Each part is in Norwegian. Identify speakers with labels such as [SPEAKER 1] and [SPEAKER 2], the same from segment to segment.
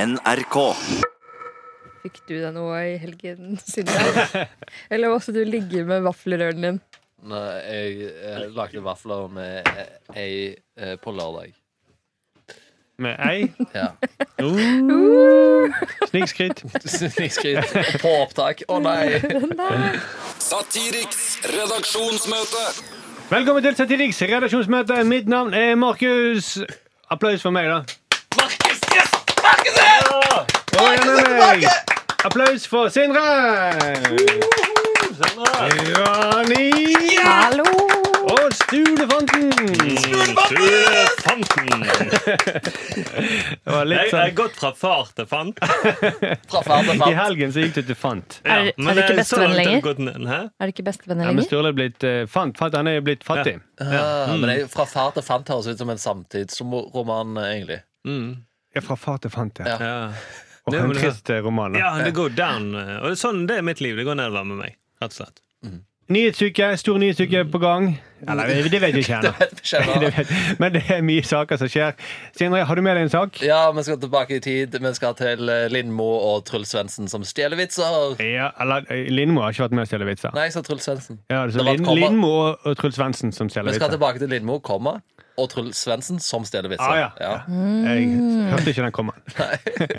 [SPEAKER 1] NRK.
[SPEAKER 2] Fikk du deg noe i helgen, Sindre? Eller måtte du ligge med vaffelrøren din?
[SPEAKER 3] Nei, jeg eh, lagde vafler med eh, ei eh, på lørdag.
[SPEAKER 4] Med ei.
[SPEAKER 3] Ja.
[SPEAKER 4] Uh, Snikskritt.
[SPEAKER 3] Snikskryt på opptak. Å nei!
[SPEAKER 2] Nei.
[SPEAKER 5] Satiriks redaksjonsmøte.
[SPEAKER 4] Velkommen til Satiriks redaksjonsmøte. Mitt navn er Markus. Applaus for meg, da.
[SPEAKER 3] Markus! Yes! Markus er
[SPEAKER 4] Og gjerne meg. Applaus for Sindre. Rani.
[SPEAKER 2] Hallo!
[SPEAKER 4] Og Stulefanten.
[SPEAKER 6] Fanten!
[SPEAKER 4] Det var
[SPEAKER 6] Jeg
[SPEAKER 4] litt
[SPEAKER 6] jeg har
[SPEAKER 4] sånn
[SPEAKER 6] gått fra far til fant.
[SPEAKER 3] fra ferd til
[SPEAKER 4] I
[SPEAKER 3] fant.
[SPEAKER 4] helgen så gikk det til Fant.
[SPEAKER 6] Ja,
[SPEAKER 2] Er- er
[SPEAKER 6] men
[SPEAKER 2] det ikke
[SPEAKER 6] jeg- så
[SPEAKER 2] bestevenn
[SPEAKER 6] langt har jeg
[SPEAKER 2] lenger?
[SPEAKER 6] gått ned- Hæ?
[SPEAKER 2] Er du ikke bestevenner
[SPEAKER 4] Ja, men
[SPEAKER 2] lenger?
[SPEAKER 4] Sturle er blitt eh, fant. fant. Han er jo blitt fattig.
[SPEAKER 3] Ah, men
[SPEAKER 4] Mm.
[SPEAKER 3] jeg, fra ferd til fant høres ut som en samtidsroman, eh, egentlig.
[SPEAKER 4] Ja, Fra far til fant,
[SPEAKER 3] Ja.
[SPEAKER 4] ja.
[SPEAKER 6] Ja.
[SPEAKER 4] Og
[SPEAKER 6] Det er
[SPEAKER 4] en
[SPEAKER 6] vel det.
[SPEAKER 4] trist eh, roman. da.
[SPEAKER 6] ja, det går down. eh, Og det er sånn det er mitt liv. Det går nedover med meg. Rett og slett.
[SPEAKER 4] Nyhetsuke. Stor nyhetsuke på gang. Eller, eh, det vet jeg ikke ennå.
[SPEAKER 3] Kjenner.
[SPEAKER 4] Det vet- Men det er mye saker som skjer. Sindre, har du med deg en sak?
[SPEAKER 3] Ja, vi skal tilbake i tid. Vi skal til eh, Lindmo og Truls Svendsen som stjeler vitser.
[SPEAKER 4] Ja, eller eh, Lindmo har ikke vært med å stjele vitser.
[SPEAKER 3] Nei, jeg sa Truls Svendsen.
[SPEAKER 4] Ja, det er
[SPEAKER 3] Det
[SPEAKER 4] så
[SPEAKER 3] var et
[SPEAKER 4] Lin,
[SPEAKER 3] komma.
[SPEAKER 4] Lindmo og, og Truls Svendsen som stjeler
[SPEAKER 3] Vi skal
[SPEAKER 4] vitser.
[SPEAKER 3] tilbake til Lindmo, komma, og Truls Svendsen som stjeler vitser.
[SPEAKER 4] Ah, ja.
[SPEAKER 3] Ja.
[SPEAKER 4] Jeg hørte ikke den komme.
[SPEAKER 3] Jeg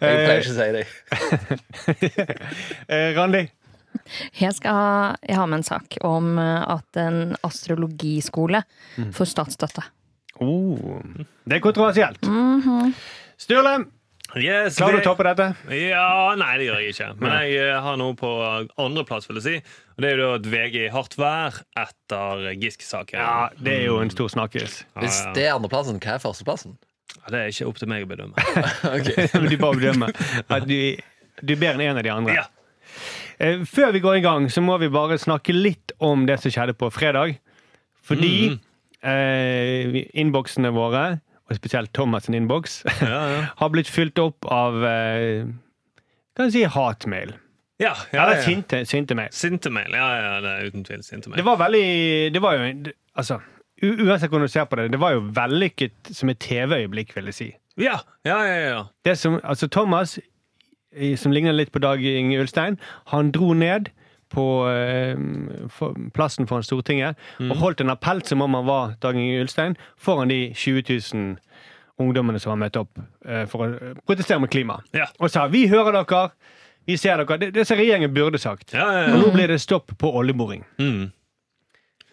[SPEAKER 3] pleier ikke å si det.
[SPEAKER 4] Eh, Randi,
[SPEAKER 2] Jeg, skal ha, jeg har med en sak om eh, at en astrologiskole får statsstøtte.
[SPEAKER 4] oh, det er kontroversielt. Sturle,
[SPEAKER 6] Yes,
[SPEAKER 4] klarer du
[SPEAKER 6] det-
[SPEAKER 4] å toppe dette?
[SPEAKER 6] Ja, Nei, det gjør jeg ikke. Men jeg eh, har noe på andreplass, vil jeg si. Og det er jo da at VG i hardt vær etter Giske-saken.
[SPEAKER 4] Ja, det er jo en stor snakkis.
[SPEAKER 6] Ja,
[SPEAKER 3] Hvis
[SPEAKER 6] ja.
[SPEAKER 3] det er andreplassen, hva er førsteplassen?
[SPEAKER 6] Ja, det er ikke opp til meg å bedømme.
[SPEAKER 3] Ok.
[SPEAKER 4] Du bare bedømmer at du, du er bedre enn en av de andre.
[SPEAKER 6] Ja.
[SPEAKER 4] Eh, Før vi går i gang, så må vi bare snakke litt om det som skjedde på fredag. Fordi
[SPEAKER 6] Mhm.
[SPEAKER 4] eh, vi- innboksene våre, og spesielt Thomas' sin innboks,
[SPEAKER 6] Ja, ja.
[SPEAKER 4] har blitt fylt opp av eh, kan jeg si hatmail.
[SPEAKER 6] Ja, ja,
[SPEAKER 4] Eller
[SPEAKER 6] ja.
[SPEAKER 4] sinte, sinte mail.
[SPEAKER 6] Sintemail. Ja, ja, det er uten tvil
[SPEAKER 4] Det
[SPEAKER 6] sintemail.
[SPEAKER 4] var veldig Det var jo en- Altså, u- uansett hvordan du ser på det, det var jo vellykket som et TV-øyeblikk, vil jeg si.
[SPEAKER 6] Ja, ja, ja, ja.
[SPEAKER 4] det som, altså Thomas, i- som ligner litt på Dag Inge Ulstein, han dro ned på eh, for, plassen foran Stortinget og holdt en appell som om han var Dag Inge Ulstein foran de 20 000 ungdommene som har møtt opp eh, for å eh, protestere mot klima.
[SPEAKER 6] Ja.
[SPEAKER 4] Og sa 'vi hører dere', 'vi ser dere'. Det, det som regjeringen burde sagt.
[SPEAKER 6] ja, ja,
[SPEAKER 4] Og
[SPEAKER 6] ja.
[SPEAKER 4] nå blir det stopp på oljeboring.
[SPEAKER 6] Mm.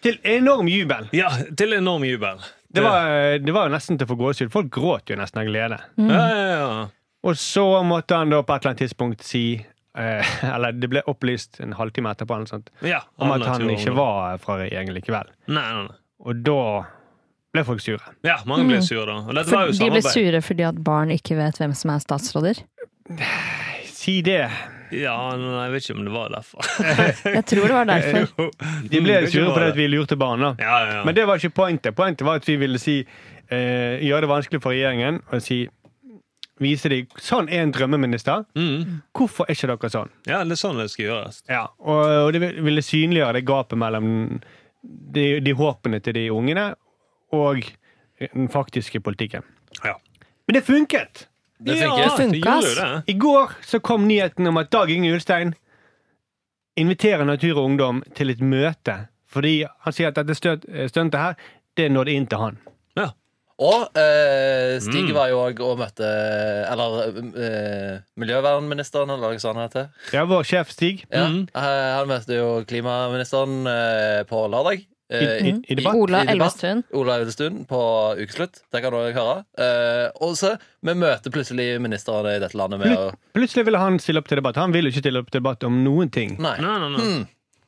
[SPEAKER 4] Til enorm jubel.
[SPEAKER 6] ja til enorm jubel.
[SPEAKER 4] Det var, eh, det var jo nesten til å få gåsehud. Folk gråt jo nesten av glede.
[SPEAKER 6] Ja, ja, ja.
[SPEAKER 4] Og så måtte han da på et eller annet tidspunkt si eh, Eller det ble opplyst en halvtime etterpå eller noe sånt,
[SPEAKER 6] ja
[SPEAKER 4] Mm. om at
[SPEAKER 6] Anna
[SPEAKER 4] han
[SPEAKER 6] tror
[SPEAKER 4] ikke
[SPEAKER 6] hun-
[SPEAKER 4] var fra regjeringen likevel.
[SPEAKER 6] Nei, nei, nei.
[SPEAKER 4] Og da ble folk sure.
[SPEAKER 6] Ja, mange ble sure da. Og dette
[SPEAKER 2] Mm. For
[SPEAKER 6] var jo
[SPEAKER 2] de ble
[SPEAKER 6] samarbeid.
[SPEAKER 2] sure fordi at barn ikke vet hvem som er statsråder.
[SPEAKER 4] Si det.
[SPEAKER 6] Ja, nei, jeg vet ikke om det var derfor.
[SPEAKER 2] Jeg tror det var derfor.
[SPEAKER 4] De ble
[SPEAKER 6] Mm, det
[SPEAKER 4] sure
[SPEAKER 6] var
[SPEAKER 4] fordi
[SPEAKER 6] det.
[SPEAKER 4] at vi lurte barna.
[SPEAKER 6] Ja, ja, ja.
[SPEAKER 4] Men det var ikke pointet. Pointet var at vi ville si eh, gjøre det vanskelig for regjeringen å si Vise dem sånn er en drømmeminister.
[SPEAKER 6] Mm.
[SPEAKER 4] Hvorfor er ikke dere sånn?
[SPEAKER 6] ja, det er sånn det skal gjøres.
[SPEAKER 4] Ja, og, og det vil- ville synliggjøre det gapet mellom de, de håpene til de ungene og den faktiske politikken.
[SPEAKER 6] Ja.
[SPEAKER 4] Men det funket!
[SPEAKER 3] Det funker.
[SPEAKER 2] det funker,
[SPEAKER 6] gjorde
[SPEAKER 2] ass.
[SPEAKER 6] jo det.
[SPEAKER 4] I går så kom nyheten om at Dag Inge Ulstein inviterer Natur og Ungdom til et møte. Fordi han sier at dette støt- stuntet her, det nådde inn til han.
[SPEAKER 6] Ja.
[SPEAKER 3] Og eh, Stig
[SPEAKER 2] Mm.
[SPEAKER 3] var jo òg og møtte Eller eh, miljøvernministeren, eller hva han heter.
[SPEAKER 4] Ja, vår sjef Stig.
[SPEAKER 3] Ja.
[SPEAKER 2] Mm.
[SPEAKER 3] Eh, han møtte jo klimaministeren eh, på lørdag. eh,
[SPEAKER 4] I, i debatt.
[SPEAKER 2] Ola
[SPEAKER 3] i debatt.
[SPEAKER 2] Elvestuen.
[SPEAKER 3] Ola Elvestuen på Ukeslutt. Det kan du òg høre. Eh, og så vi møter plutselig ministrene i dette landet med å
[SPEAKER 4] Plut- Plutselig ville han stille opp til debatt. Han vil jo ikke stille opp til debatt om noen ting.
[SPEAKER 3] Nei.
[SPEAKER 6] Nei, nei, nei.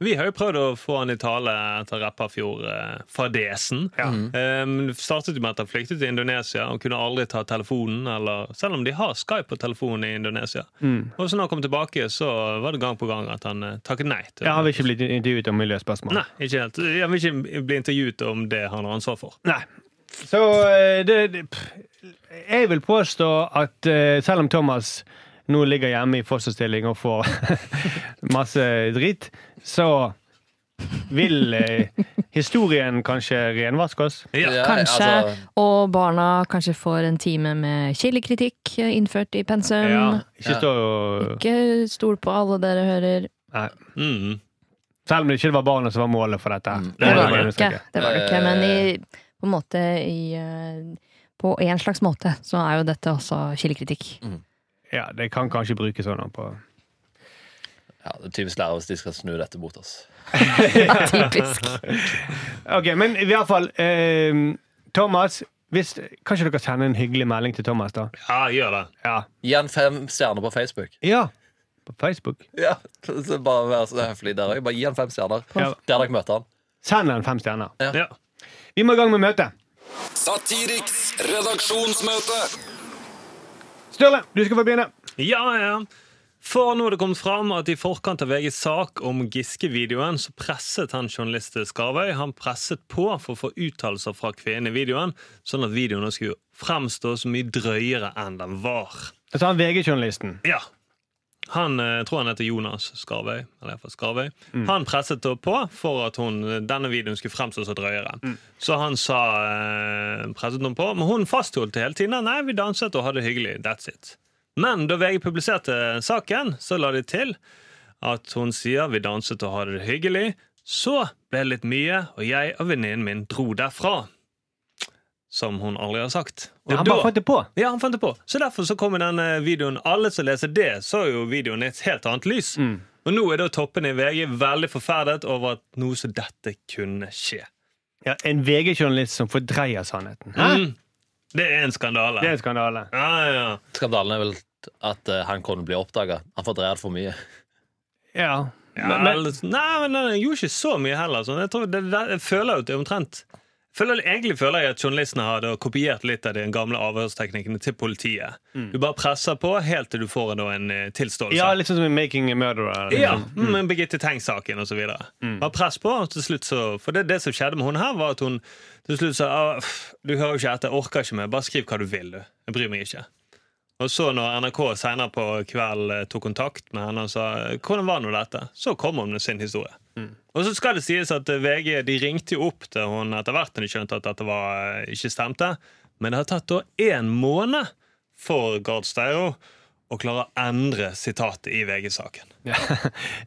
[SPEAKER 6] Vi har jo prøvd å få han i tale etter eh, Repparfjord-fadesen. Um, startet jo med at han flyktet til Indonesia og kunne aldri ta telefonen. Eller, selv om de har Skype på telefonen i Indonesia. Og så når han kom tilbake, så var det gang på gang at han eh, takket nei. til
[SPEAKER 4] Ja, han vil ikke bli intervjuet om miljøspørsmål.
[SPEAKER 6] Nei, ikke helt. Jeg vil ikke bli intervjuet om det han har ansvar for.
[SPEAKER 4] Nei. Så eh, det, det pff, Jeg vil påstå at eh, selv om Thomas nå ligger hjemme i fosterstilling og får masse drit, så vil eh, historien kanskje renvaske oss?
[SPEAKER 6] Ja.
[SPEAKER 2] Kanskje.
[SPEAKER 3] altså,
[SPEAKER 2] Og barna kanskje får en time med kildekritikk eh, innført i pensum.
[SPEAKER 6] Ja.
[SPEAKER 4] Ikke
[SPEAKER 3] Ja.
[SPEAKER 4] stå og
[SPEAKER 2] Ikke stol på alle dere hører.
[SPEAKER 4] Nei.
[SPEAKER 6] Mm.
[SPEAKER 4] Selv om det ikke var barna som var målet for dette.
[SPEAKER 3] Mm.
[SPEAKER 2] Det
[SPEAKER 4] må jeg
[SPEAKER 2] var
[SPEAKER 4] bare
[SPEAKER 2] det ikke.
[SPEAKER 4] understreke.
[SPEAKER 2] Det var det ikke. Men i, på en måte i eh, På en slags måte så er jo dette også kildekritikk.
[SPEAKER 3] Mm.
[SPEAKER 4] Ja, det kan kanskje brukes sånn på
[SPEAKER 3] ja, det er typisk lærere hvis de skal snu dette mot oss.
[SPEAKER 2] Typisk.
[SPEAKER 4] Ok, men i hvert fall eh, Thomas, hvis, kanskje dere sender en hyggelig melding til Thomas, da?
[SPEAKER 6] ja, gjør det.
[SPEAKER 4] Ja.
[SPEAKER 3] Gi han fem stjerner på Facebook.
[SPEAKER 4] ja. På Facebook.
[SPEAKER 3] Ja, så Bare vær så høflig der òg. Bare gi han fem stjerner
[SPEAKER 4] Ja.
[SPEAKER 3] der dere møter han.
[SPEAKER 4] Send den fem stjerner.
[SPEAKER 6] Ja.
[SPEAKER 4] Vi må i gang med møtet.
[SPEAKER 5] Satiriks redaksjonsmøte.
[SPEAKER 4] Sturle, du skal få begynne.
[SPEAKER 6] ja, ja. For nå er det kommet fram at i forkant av VGs sak om Giske-videoen, så presset han journalist Skarvøy han presset på for å få uttalelser fra kvinnen i videoen, sånn at videoen nå skulle fremstå så mye drøyere enn den var.
[SPEAKER 4] Da tar han VG-journalisten.
[SPEAKER 6] Ja. Han eh, tror han heter Jonas Skarvøy. Eller iallfall Skarvøy. Han presset da på for at hun, denne videoen skulle fremstå så drøyere. Så han sa eh, presset hun på, men hun fastholdt det hele tiden. Nei, vi danset og hadde det hyggelig. That's it. Men da VG publiserte saken, så la de til at hun sier vi danset og hadde det hyggelig. Så ble det litt mye, og jeg og venninnen min dro derfra. Som hun aldri har sagt. Og
[SPEAKER 4] Han
[SPEAKER 6] da-
[SPEAKER 4] bare fant det på.
[SPEAKER 6] ja, han fant det på. Så derfor så kommer den eh, videoen. Alle som leser det, så jo videoen i et helt annet lys.
[SPEAKER 4] Mm.
[SPEAKER 6] Og nå er da toppen i VG veldig forferdet over at noe som dette kunne skje.
[SPEAKER 4] Ja, en VG-journalist som fordreier sannheten.
[SPEAKER 6] Mm. Det er en skandale.
[SPEAKER 4] Det er en skandale.
[SPEAKER 6] Ja, ja.
[SPEAKER 3] Skandalen er vel at eh, han kunne bli oppdaga. Han fordrev for mye.
[SPEAKER 4] Ja.
[SPEAKER 6] ja
[SPEAKER 4] Men- men-
[SPEAKER 6] eller- nei, men den gjorde ikke så mye heller. Sånn. Jeg, tror det, det, jeg føler jo at det er omtrent føler, Egentlig føler jeg at journalistene har da kopiert litt av de gamle avhørsteknikkene til politiet. Du bare presser på helt til du får da en eh, tilståelse.
[SPEAKER 4] Mm. ja, litt sånn som i 'Making a Murderer'. eller
[SPEAKER 6] Ja,
[SPEAKER 4] noe sånt.
[SPEAKER 6] mm. Birgitte Tengs-saken osv. Mm. Var press på, og til slutt så For det, det som skjedde med hun her, var at hun til slutt sa «Ah, pff, Du hører jo ikke etter, jeg orker ikke mer. Bare skriv hva du vil, du. Jeg bryr meg ikke. Og så når NRK senere på kvelden eh, tok kontakt med henne og sa hvordan var nå dette, så kom hun med sin historie. Og så skal det sies at eh, VG de ringte jo opp til hun etter hvert når de skjønte at dette var, eh, ikke stemte. Men det har tatt da én måned for Gard Steiro å klare å endre sitatet i VG-saken.
[SPEAKER 4] Ja.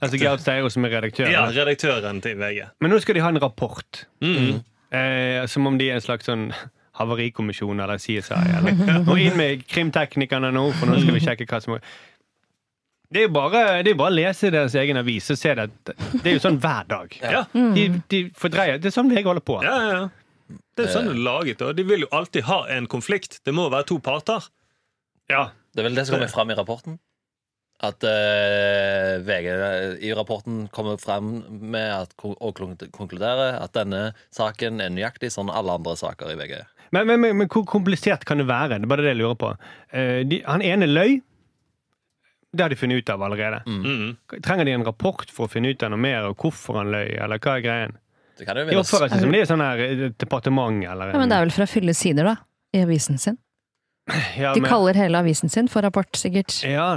[SPEAKER 4] altså Gerd Steiro som er redaktør.
[SPEAKER 6] Ja, redaktøren til VG.
[SPEAKER 4] Men nå skal de ha en rapport.
[SPEAKER 6] Mm.
[SPEAKER 4] Eh, som om de er en slags sånn havarikommisjon eller CSI. Eller. Og inn med krimteknikerne nå, for nå skal vi sjekke hva som Det er jo bare, det er jo bare å lese deres egen avis og se det. Det er jo sånn hver dag.
[SPEAKER 6] Ja. Ja,
[SPEAKER 4] De, de fordreier Det er sånn VG holder på.
[SPEAKER 6] ja, ja. Det er sånn det er laget. Og de vil jo alltid ha en konflikt. Det må være to parter.
[SPEAKER 4] Ja.
[SPEAKER 3] Det er vel det som kommer fram i rapporten. At eh, VG i rapporten kommer frem med at, og konkluderer at denne saken er nøyaktig sånn alle andre saker i VG.
[SPEAKER 4] Men, men, men, men hvor komplisert kan det være? Det er bare det jeg lurer på. Eh, de, han ene løy. Det har de funnet ut av allerede.
[SPEAKER 6] Mm.
[SPEAKER 4] Trenger de en rapport for å finne ut av noe mer, og hvorfor han løy, eller hva er greien?
[SPEAKER 3] Det kan jo
[SPEAKER 4] De
[SPEAKER 3] vinnes.
[SPEAKER 4] oppfører seg som de er sånn her eh, departement eller
[SPEAKER 2] Ja, men det er vel for å fylle sider, da. I avisen sin.
[SPEAKER 4] Ja,
[SPEAKER 2] De
[SPEAKER 4] men-
[SPEAKER 2] kaller hele avisen sin for rapport, sikkert.
[SPEAKER 4] Ja,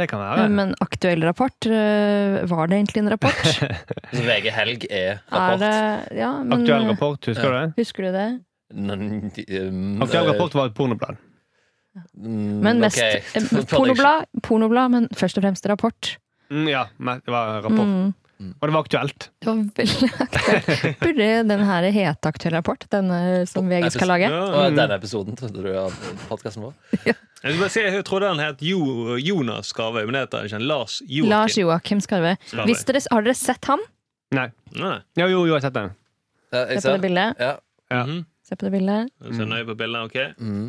[SPEAKER 4] det kan være.
[SPEAKER 2] Men aktuell rapport, øh, var det egentlig en rapport?
[SPEAKER 3] Så altså, VG Helg er
[SPEAKER 2] Er
[SPEAKER 3] rapport.
[SPEAKER 2] det Ja, men
[SPEAKER 4] Aktuell
[SPEAKER 2] øh,
[SPEAKER 4] rapport, husker du det?
[SPEAKER 2] Husker du det?
[SPEAKER 3] N- um,
[SPEAKER 4] Aktuell
[SPEAKER 3] eh,
[SPEAKER 4] rapport var et pornoblad.
[SPEAKER 3] mm,
[SPEAKER 2] Men mest
[SPEAKER 3] ok.
[SPEAKER 2] eh, pornoblad, pornoblad, men først og fremst rapport.
[SPEAKER 4] Mm, ja, men det var en rapport.
[SPEAKER 2] Mm.
[SPEAKER 4] Og det var aktuelt.
[SPEAKER 2] Det var veldig aktuelt. Burde den her hete Aktuell rapport, denne eh, som VG skal lage?
[SPEAKER 6] Ja.
[SPEAKER 3] Og denne episoden trodde du av podkasten vår?
[SPEAKER 6] Jeg, skal bare si, jeg trodde han het jo, Jonas Skarvøy, men det heter han ikke. Lars Joakim.
[SPEAKER 2] Lars Joakim Skarve.
[SPEAKER 6] Skarve.
[SPEAKER 2] Hvis dere, har dere sett ham?
[SPEAKER 4] Nei.
[SPEAKER 6] Nei,
[SPEAKER 4] Jo, jo, jo, jeg har sett den.
[SPEAKER 2] Se
[SPEAKER 3] Ja, jeg
[SPEAKER 2] på det
[SPEAKER 3] ser.
[SPEAKER 2] bildet.
[SPEAKER 3] Ja.
[SPEAKER 4] Ja.
[SPEAKER 6] Mhm.
[SPEAKER 2] Se på det bildet.
[SPEAKER 6] Jeg ser nøye på bildet, ok?
[SPEAKER 3] Mm.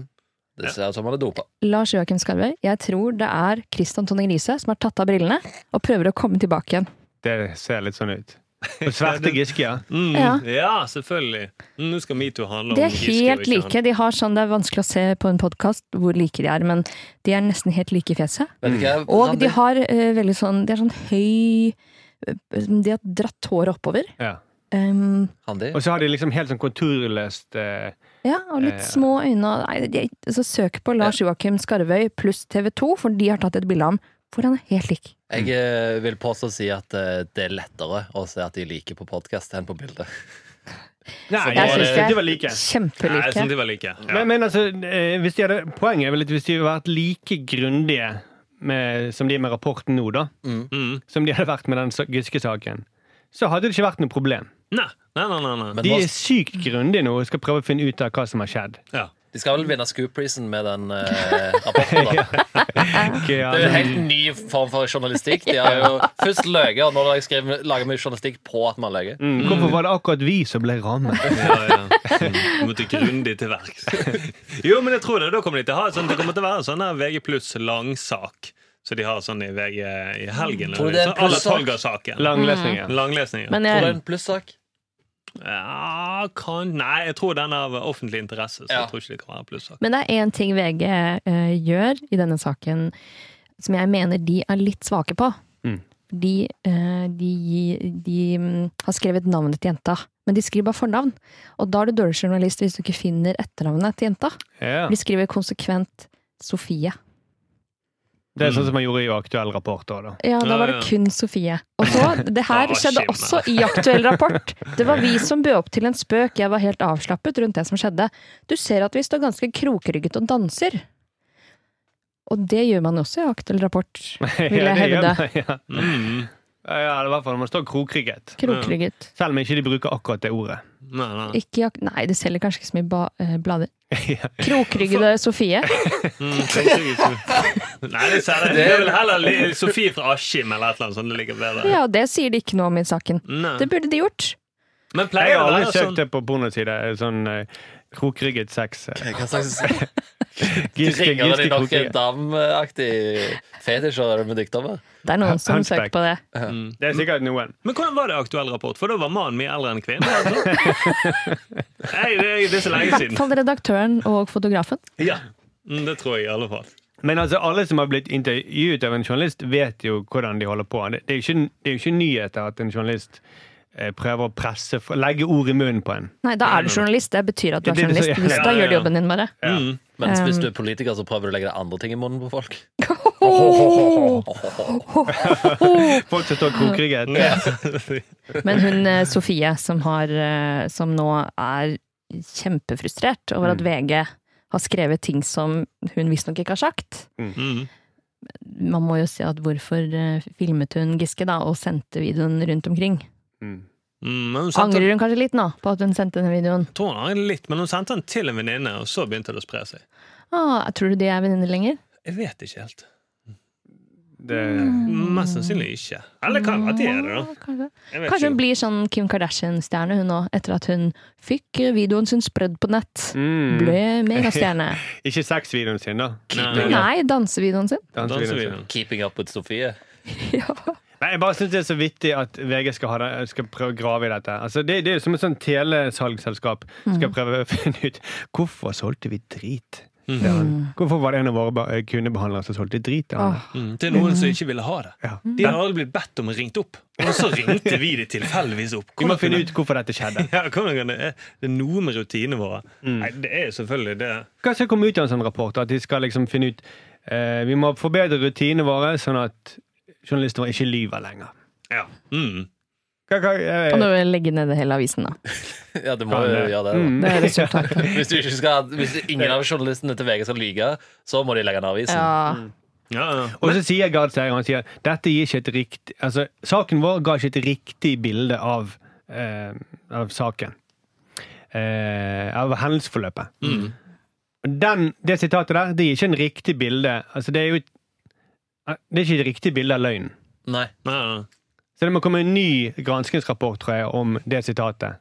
[SPEAKER 3] Det ser ut som han er dopa.
[SPEAKER 2] Lars Joakim Skarve, jeg tror det er Christian Tonning Riise som har tatt av brillene og prøver å komme tilbake igjen.
[SPEAKER 4] Det ser litt sånn ut. Og sverte Giske, ja.
[SPEAKER 6] Mm. Ja.
[SPEAKER 2] Ja.
[SPEAKER 6] selvfølgelig. Mm, Nå skal metoo handle om
[SPEAKER 2] De er
[SPEAKER 6] Giske og
[SPEAKER 2] helt
[SPEAKER 6] ikke han.
[SPEAKER 2] like. De har sånn, Det er vanskelig å se på en podkast hvor like de er, men de er nesten helt like i fjeset.
[SPEAKER 3] Vet du hva?
[SPEAKER 2] Og
[SPEAKER 3] Randi?
[SPEAKER 2] de har eh, veldig sånn De er sånn høy eh, De har dratt håret oppover.
[SPEAKER 4] ja.
[SPEAKER 2] Um,
[SPEAKER 3] Randi?
[SPEAKER 4] Og så har de liksom helt sånn konturløst eh,
[SPEAKER 2] ja, og litt
[SPEAKER 4] Eh.
[SPEAKER 2] små altså, øyne. og- Nei, de, så søk på Lars Joakim Skarvøy pluss TV 2, for de har tatt et bilde av ham hvor han er helt lik.
[SPEAKER 4] Mm.
[SPEAKER 3] Jeg eh, vil påstå å si at eh, det er lettere å se at de liker på podkast enn på bildet.
[SPEAKER 4] Nei,
[SPEAKER 2] Jeg
[SPEAKER 6] var
[SPEAKER 2] syns
[SPEAKER 6] det-
[SPEAKER 2] de
[SPEAKER 4] de var
[SPEAKER 2] er
[SPEAKER 4] like.
[SPEAKER 6] Nei, jeg
[SPEAKER 2] kjempelike.
[SPEAKER 6] synes de var like. Ja.
[SPEAKER 4] Men, men altså, eh, hvis de hadde, poenget er vel at hvis de hadde vært like grundige med, som de er med rapporten nå, da,
[SPEAKER 6] Mm.
[SPEAKER 4] som de hadde vært med den sa- Giske-saken, så hadde det ikke vært noe problem.
[SPEAKER 6] Nei, nei, nei. nei, nei.
[SPEAKER 3] Men
[SPEAKER 4] De
[SPEAKER 3] nå,
[SPEAKER 4] er sykt grundige nå og skal prøve å finne ut av hva som har skjedd.
[SPEAKER 6] Ja.
[SPEAKER 3] de skal vel
[SPEAKER 4] Mm.
[SPEAKER 3] vinne Scoop-prisen med den eh, rapporten. da.
[SPEAKER 4] Ikke,
[SPEAKER 3] Det er jo en
[SPEAKER 4] altså,
[SPEAKER 3] helt ny form for journalistikk. De har jo først løyet, og nå lager jeg skrevet- lager vi journalistikk på at man løy.
[SPEAKER 4] mm, hvorfor var det akkurat vi som ble rammet?
[SPEAKER 6] Ja, ja. Mm. Du måtte grundig til verks. Jo, men jeg tror det. Da kommer de til å ha sånn, Det kommer til å være en sånn her VG pluss langsak. Så de har sånn i VG i helgen.
[SPEAKER 3] Tror du det er en
[SPEAKER 6] Sånn à la
[SPEAKER 3] plussak?
[SPEAKER 6] Tolga-saken.
[SPEAKER 4] Langlesninger.
[SPEAKER 6] Langlesning. Ja.
[SPEAKER 2] Men
[SPEAKER 3] Tror det
[SPEAKER 2] jeg,
[SPEAKER 4] Mm.
[SPEAKER 3] er en plussak.
[SPEAKER 6] Ja, kan, nei, jeg tror den er av offentlig interesse, så
[SPEAKER 3] Ja.
[SPEAKER 6] jeg tror ikke det kan være plussak.
[SPEAKER 2] men det er én ting VG eh, gjør i denne saken som jeg mener de er litt svake på.
[SPEAKER 4] Mm.
[SPEAKER 2] De, eh, de, gi- de mm, har skrevet navnet til jenta, men de skriver bare fornavn. Og da er du dårlig journalist hvis du ikke finner etternavnet til jenta.
[SPEAKER 4] Ja.
[SPEAKER 2] De skriver konsekvent Sofie.
[SPEAKER 4] Det er sånn som man gjorde i Aktuell rapport òg, da.
[SPEAKER 2] Ja, da
[SPEAKER 6] Ja,
[SPEAKER 2] var det
[SPEAKER 6] ja.
[SPEAKER 2] kun Sofie. Og så, det her
[SPEAKER 6] Å,
[SPEAKER 2] skjedde
[SPEAKER 6] skimmer.
[SPEAKER 2] også i aktuell rapport. Det var vi som bød opp til en spøk, jeg var helt avslappet rundt det som skjedde. Du ser at vi står ganske krokrygget og danser. Og det gjør man også i aktuell rapport, vil
[SPEAKER 4] Ja,
[SPEAKER 2] jeg
[SPEAKER 4] det gjør
[SPEAKER 2] hevde.
[SPEAKER 4] man, Ja,
[SPEAKER 6] Mm.
[SPEAKER 4] ja eller i hvert fall når man står krokrygget.
[SPEAKER 2] Krokrygget.
[SPEAKER 4] Selv om ikke de bruker akkurat det ordet.
[SPEAKER 6] Nei, nei.
[SPEAKER 2] Ikke i ak Nei, det selger kanskje ikke så mye ba eh, blader.
[SPEAKER 4] Ja.
[SPEAKER 2] Krokryggede Sofie.
[SPEAKER 6] Mm, kanskje ikke. nei, det er, det er vel heller li- Sofie fra Askim eller et eller annet sånt. Det ligger bedre.
[SPEAKER 2] Ja, det sier de ikke noe om i saken.
[SPEAKER 6] Mm, Nei.
[SPEAKER 2] Det burde de gjort.
[SPEAKER 6] Men
[SPEAKER 4] Jeg
[SPEAKER 6] pleier
[SPEAKER 4] har
[SPEAKER 6] det å
[SPEAKER 4] aldri
[SPEAKER 6] være
[SPEAKER 4] søkt
[SPEAKER 6] sånn
[SPEAKER 4] det på pornoside. Sånn eh, krokrygget sex. eh,
[SPEAKER 3] Hva slags
[SPEAKER 4] Giske,
[SPEAKER 3] ringer
[SPEAKER 4] giske,
[SPEAKER 3] de noe
[SPEAKER 4] krokrygget.
[SPEAKER 3] damaktig fetisjer med dykdommer?
[SPEAKER 2] Det er noen som
[SPEAKER 4] Hunchback.
[SPEAKER 2] søker på det.
[SPEAKER 4] Det er sikkert noen.
[SPEAKER 6] Men hvordan var det i aktuell rapport? For da var mannen mye eldre enn kvinnen. Altså. Nei, det, er- det er så
[SPEAKER 2] I
[SPEAKER 6] lenge
[SPEAKER 2] hvert
[SPEAKER 6] siden.
[SPEAKER 2] fall redaktøren og fotografen.
[SPEAKER 6] Ja, mm, Det tror jeg i alle fall.
[SPEAKER 4] Men altså, alle som har blitt intervjuet av en journalist, vet jo hvordan de holder på. Det det er jo ikke, det er jo ikke nyheter at en journalist eh, prøver å presse for, Legge ord i munnen på en.
[SPEAKER 2] Nei, da er du journalist. Det betyr at du
[SPEAKER 4] Det-
[SPEAKER 2] er
[SPEAKER 4] det- det-
[SPEAKER 2] journalist. Hvis
[SPEAKER 6] ja,
[SPEAKER 2] da
[SPEAKER 6] ja,
[SPEAKER 2] gjør du
[SPEAKER 6] ja.
[SPEAKER 2] jobben din, bare.
[SPEAKER 6] Mm.
[SPEAKER 3] Mens hvis
[SPEAKER 2] Um.
[SPEAKER 3] du er politiker, så prøver du å legge andre ting i munnen på folk.
[SPEAKER 4] Folk som står krokrygget.
[SPEAKER 6] Mm.
[SPEAKER 2] Men hun eh, Sofie, som, har, eh, som nå er kjempefrustrert over
[SPEAKER 6] Mm.
[SPEAKER 2] at VG har skrevet ting som hun visstnok ikke har sagt.
[SPEAKER 6] Mm.
[SPEAKER 2] Man må jo se at hvorfor eh, filmet hun Giske da, og sendte videoen rundt omkring.
[SPEAKER 4] Mm.
[SPEAKER 6] Mm, men hun sendte,
[SPEAKER 2] Angrer hun kanskje litt nå på at hun sendte den videoen?
[SPEAKER 6] jeg tror hun angrer litt, men hun sendte den til en venninne, og så begynte det å spre seg.
[SPEAKER 2] Ah, tror du de er venninner lenger?
[SPEAKER 6] Jeg vet ikke helt.
[SPEAKER 4] Det,
[SPEAKER 6] Mest sannsynlig ikke. Eller kan være at de er det, da.
[SPEAKER 2] Ja, kanskje.
[SPEAKER 6] Jeg vet
[SPEAKER 2] Kanskje hun
[SPEAKER 6] ikke.
[SPEAKER 2] blir sånn Kim Kardashian-stjerne hun nå, etter at hun fikk eh, videoen sin sprødd på nett.
[SPEAKER 4] mm.
[SPEAKER 2] Ble megastjerne.
[SPEAKER 4] Ikke sexvideoen sin, da.
[SPEAKER 6] Nei, nei,
[SPEAKER 2] Nei, dansevideoen sin.
[SPEAKER 6] nei.
[SPEAKER 4] Dansevideoen sin.
[SPEAKER 6] Dansevideoen.
[SPEAKER 3] Keeping up with Sofie.
[SPEAKER 2] Ja.
[SPEAKER 4] Nei, jeg bare synes det er så vittig at VG skal, ha det, skal prøve å grave i dette. Altså, det, det er jo som et sånn telesalgsselskap skal prøve å finne ut hvorfor solgte vi drit.
[SPEAKER 6] Mm.
[SPEAKER 4] til han? Hvorfor var det en av våre ba- eh, kundebehandlere som solgte drit? til han?
[SPEAKER 6] Mm, til noen som ikke ville ha det.
[SPEAKER 4] Ja.
[SPEAKER 6] De hadde aldri blitt bedt om å ringt opp. Og så ringte vi de tilfeldigvis opp.
[SPEAKER 4] Vi må
[SPEAKER 6] Hvordan
[SPEAKER 4] finne
[SPEAKER 6] kunne-
[SPEAKER 4] ut Mm. hvorfor dette skjedde.
[SPEAKER 6] Ja, hvordan kan det, det er noe med rutinene våre. Nei, det er jo selvfølgelig det.
[SPEAKER 4] Hva skal komme ut av en sånn rapport? At de skal liksom finne ut eh, Vi må forbedre rutinene våre, sånn at journalister ikke lyver lenger.
[SPEAKER 6] Ja. Mm.
[SPEAKER 4] Hva, hva, eh,
[SPEAKER 2] Kan du legge ned hele avisen, da?
[SPEAKER 3] Ja, det må
[SPEAKER 4] Kan
[SPEAKER 3] jo
[SPEAKER 4] det.
[SPEAKER 3] gjøre det. da.
[SPEAKER 4] mm.
[SPEAKER 2] Det er resultatet.
[SPEAKER 3] Hvis, du ikke skal, hvis ingen av journalistene til VG skal lyge, så må de legge ned avisen.
[SPEAKER 2] Ja.
[SPEAKER 6] Ja, ja.
[SPEAKER 4] Og så sier Gard Seier han sier, dette gir ikke et riktig altså, Saken vår ga ikke et riktig bilde av, eh, av saken. Eh, av hendelsesforløpet.
[SPEAKER 3] Mm.
[SPEAKER 4] Den, det sitatet der det gir ikke en riktig bilde altså, det, er jo, et- det er ikke et riktig bilde av løgnen.
[SPEAKER 3] Nei.
[SPEAKER 6] Nei, nei.
[SPEAKER 4] Så det må komme en ny granskingsrapport tror jeg, om det sitatet.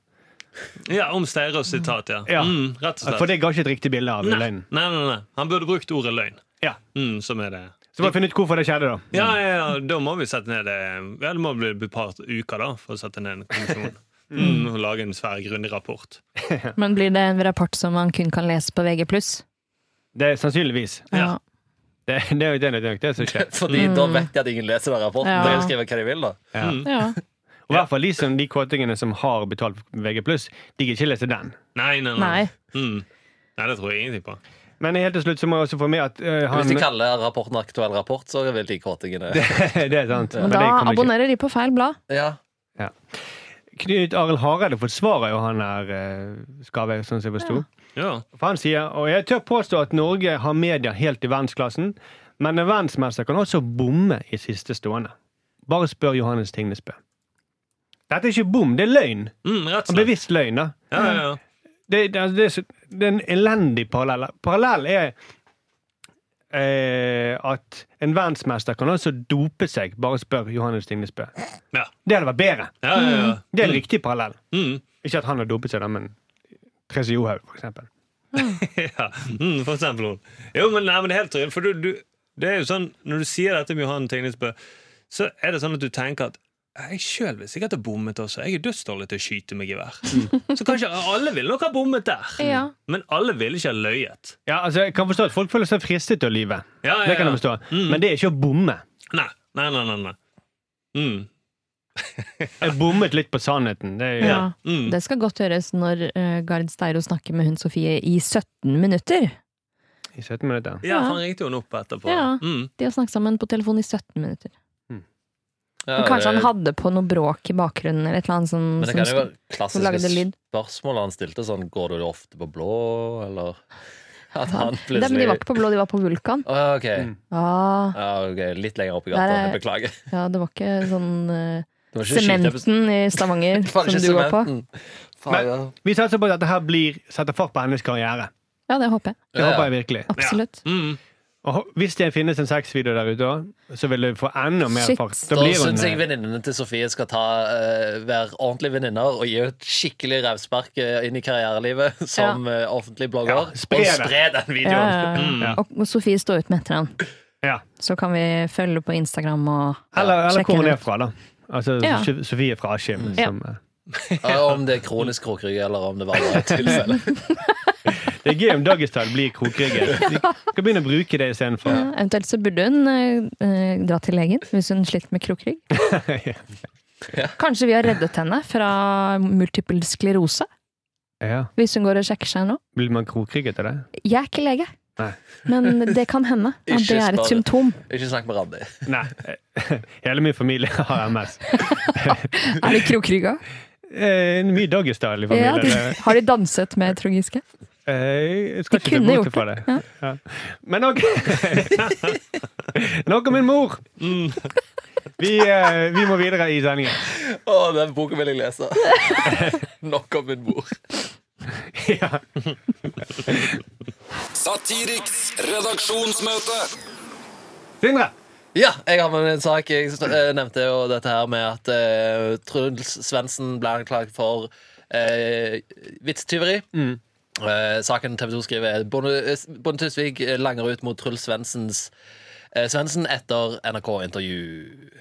[SPEAKER 6] ja om Steiros sitat, ja.
[SPEAKER 4] Ja.
[SPEAKER 6] Mm, rett og
[SPEAKER 4] For
[SPEAKER 6] slett.
[SPEAKER 4] det ga ikke et riktig bilde av
[SPEAKER 6] Nei. nei,
[SPEAKER 4] løgnen.
[SPEAKER 6] nei, nei. Han burde brukt ordet løgn.
[SPEAKER 4] Ja.
[SPEAKER 6] Mm, som er det.
[SPEAKER 4] Så må vi finne ut hvorfor det skjedde, da.
[SPEAKER 6] Ja, ja, ja, da må vi sette ned eh, Ja, det må bli et par uker, da, for å sette ned en kommisjon. Mm, og lage en svær, grundig rapport.
[SPEAKER 2] Men blir det en rapport som man kun kan lese på VG+.
[SPEAKER 4] Det er sannsynligvis.
[SPEAKER 2] Ja.
[SPEAKER 4] Det, det er jo det, det, er jo det som skjer.
[SPEAKER 3] Fordi da vet de at ingen leser den
[SPEAKER 2] Mm.
[SPEAKER 3] rapporten.
[SPEAKER 2] Ja.
[SPEAKER 3] De kan skrive hva de vil, da.
[SPEAKER 4] Ja.
[SPEAKER 2] ja.
[SPEAKER 4] Og I hvert fall de, som, de kåtingene som har betalt VG+, de gidder ikke lese den.
[SPEAKER 6] Nei, nei, nei.
[SPEAKER 2] Nei.
[SPEAKER 6] Mm. nei det tror jeg ingenting på.
[SPEAKER 4] Men helt til slutt så må jeg også få med at eh, han
[SPEAKER 3] Hvis de kaller rapporten aktuell rapport, så er vel de kåtingene
[SPEAKER 4] Det er sant.
[SPEAKER 2] Men
[SPEAKER 4] det
[SPEAKER 2] da
[SPEAKER 4] kommer ikke.
[SPEAKER 2] abonnerer de på feil blad.
[SPEAKER 3] Ja.
[SPEAKER 4] Knut Arild Hareide forsvarer jo han her eh, Skave, sånn som jeg forsto.
[SPEAKER 6] Ja.
[SPEAKER 4] For han sier, og jeg tør påstå at Norge har media helt i verdensklassen, men en verdensmester kan også bomme i siste stående. Bare spør Johannes Tingnesbø. Dette er ikke bom, det er løgn.
[SPEAKER 6] Mm, rett og
[SPEAKER 4] En
[SPEAKER 6] slett.
[SPEAKER 4] Bevisst løgn, da.
[SPEAKER 6] Ja, ja, ja.
[SPEAKER 4] Det, altså, det, det, er så- det er en elendig parallell. Parallell er eh, at en verdensmester kan også dope seg, bare spør Johannes Tingnesbø.
[SPEAKER 6] Ja.
[SPEAKER 4] Det hadde vært bedre.
[SPEAKER 6] Ja, ja, ja.
[SPEAKER 4] Det er en riktig parallell.
[SPEAKER 6] Mm.
[SPEAKER 4] Ikke at han har dopet seg, da, men Therese Johaug, for eksempel.
[SPEAKER 6] ja. Mm, for eksempel hun. Jo, men, nei, men det er helt tydelig. For du, du, det er jo sånn, når du sier dette med Johan Tegnesbø, så er det sånn at du tenker at jeg sjøl vil sikkert ha bommet også. Jeg er dødsdårlig til å skyte med gevær.
[SPEAKER 4] Mm.
[SPEAKER 6] Så kanskje alle ville nok ha bommet der.
[SPEAKER 3] Mm.
[SPEAKER 2] Ja.
[SPEAKER 6] Men alle ville ikke ha løyet.
[SPEAKER 4] Ja, altså, jeg kan forstå at folk føler seg fristet til å lyve.
[SPEAKER 6] Ja, ja,
[SPEAKER 4] Det kan
[SPEAKER 6] ja.
[SPEAKER 4] jeg forstå.
[SPEAKER 6] Mm.
[SPEAKER 4] Men det er ikke å bomme.
[SPEAKER 6] Nei, nei, nei. nei, nei. Mm.
[SPEAKER 4] Jeg bommet litt på sannheten. Det er,
[SPEAKER 2] Ja.
[SPEAKER 6] Mm.
[SPEAKER 2] Det skal godt høres når eh, Gard Steiro snakker med hun Sofie i 17 minutter.
[SPEAKER 4] I 17 minutter.
[SPEAKER 6] Ja, for han ringte jo henne opp etterpå.
[SPEAKER 2] Ja.
[SPEAKER 6] Mm.
[SPEAKER 2] De har snakket sammen på telefon i 17 minutter.
[SPEAKER 3] Ja,
[SPEAKER 2] Men kanskje han
[SPEAKER 3] det-
[SPEAKER 2] hadde på noe bråk i bakgrunnen, eller et eller annet sånn
[SPEAKER 3] Eh, Men det
[SPEAKER 2] som
[SPEAKER 3] kan jo
[SPEAKER 2] sto-
[SPEAKER 3] være
[SPEAKER 2] som lagde
[SPEAKER 3] klassiske
[SPEAKER 2] lyd.
[SPEAKER 3] spørsmål han stilte, sånn Går du ofte på blå, eller At
[SPEAKER 2] Ja,
[SPEAKER 3] han
[SPEAKER 2] Nei, men de var
[SPEAKER 3] plutselig
[SPEAKER 2] ikke på blå, de var på vulkan.
[SPEAKER 3] Å, OK.
[SPEAKER 4] Mm.
[SPEAKER 2] Ah,
[SPEAKER 3] Ja, ok, Litt lenger opp i
[SPEAKER 2] Der
[SPEAKER 3] gata.
[SPEAKER 2] er-
[SPEAKER 3] Beklager. Det
[SPEAKER 2] ja, det var ikke sånn eh,
[SPEAKER 3] var ikke skift-
[SPEAKER 2] Sementen i Stavanger
[SPEAKER 3] Det var
[SPEAKER 2] som
[SPEAKER 3] ikke
[SPEAKER 2] du var på.
[SPEAKER 3] sementen. Faen, ja.
[SPEAKER 4] Vi satser på at dette her blir, setter fart på hennes karriere.
[SPEAKER 2] Ja, det håper jeg.
[SPEAKER 4] Det
[SPEAKER 3] Ja, ja.
[SPEAKER 4] håper jeg virkelig.
[SPEAKER 2] Absolutt.
[SPEAKER 6] Mm.
[SPEAKER 4] Og ho- hvis det finnes en sexvideo der ute, også, så vil det få enda mer
[SPEAKER 2] Shit.
[SPEAKER 4] fart. Da
[SPEAKER 3] Da eh,
[SPEAKER 4] blir hun eh,
[SPEAKER 3] syns jeg venninnene til Sofie skal ta, eh, være ordentlige venninner og gi et skikkelig revspark eh, inn i karrierelivet som eh, offentlig blogger.
[SPEAKER 4] Ja, spre
[SPEAKER 3] og
[SPEAKER 4] det.
[SPEAKER 3] spre den
[SPEAKER 2] Ja,
[SPEAKER 3] videoen!
[SPEAKER 2] ja, Mm. ja. Og og Sofie står ut med etter han.
[SPEAKER 4] ja.
[SPEAKER 2] Så kan vi følge på Instagram og
[SPEAKER 4] Eller, eller
[SPEAKER 2] Sjekk
[SPEAKER 4] hvor hun
[SPEAKER 2] henne
[SPEAKER 4] er
[SPEAKER 2] ut.
[SPEAKER 4] fra, da. Altså
[SPEAKER 2] Ja.
[SPEAKER 4] Sof- Sofie fra Askim. som, eh,
[SPEAKER 3] Ja, om det er kronisk krokrygg, eller om det var bare et tilfelle.
[SPEAKER 4] Det er gøy om Dagestad blir krokrygget. Vi skal begynne å bruke det istedenfor.
[SPEAKER 2] Ja, Eventuelt så burde hun eh, eh, dra til legen hvis hun sliter med krokrygg. Kanskje vi har reddet henne fra multiple sklerose,
[SPEAKER 4] Ja.
[SPEAKER 2] hvis hun går og sjekker seg nå.
[SPEAKER 4] Blir man krokrygget av det?
[SPEAKER 2] Jeg er ikke lege,
[SPEAKER 4] Nei.
[SPEAKER 2] men det kan hende. At
[SPEAKER 3] Ikke
[SPEAKER 2] det er
[SPEAKER 3] spar det.
[SPEAKER 2] et symptom.
[SPEAKER 3] Ikke snakk med Randi.
[SPEAKER 4] Nei. Hele min familie har MS.
[SPEAKER 2] Er det krokrygga?
[SPEAKER 4] Eh, mye Dagestad i
[SPEAKER 2] Ja,
[SPEAKER 4] familien.
[SPEAKER 2] de, har de danset med Trond-Giske?
[SPEAKER 4] Eh, Jeg
[SPEAKER 2] De
[SPEAKER 4] skal ikke se
[SPEAKER 2] kunne
[SPEAKER 4] bort
[SPEAKER 2] gjort
[SPEAKER 4] fra det. Ja. Men ok Nok om min mor. Mm. Vi, eh, vi må videre i sendingen.
[SPEAKER 3] Å, den boken vil jeg lese. Nok om min mor.
[SPEAKER 4] Ja.
[SPEAKER 5] Satiriks redaksjonsmøte.
[SPEAKER 4] Sindre,
[SPEAKER 3] Ja, jeg har med en sak. Jeg sn- eh, nevnte jo dette her med at eh, Truls Svendsen ble anklaget for eh, vitstyveri. Eh, saken TV 2 skriver er Bonde eh, Bonde Tusvik eh, langer ut mot Truls Svendsens eh, Svendsen etter NRK-intervju.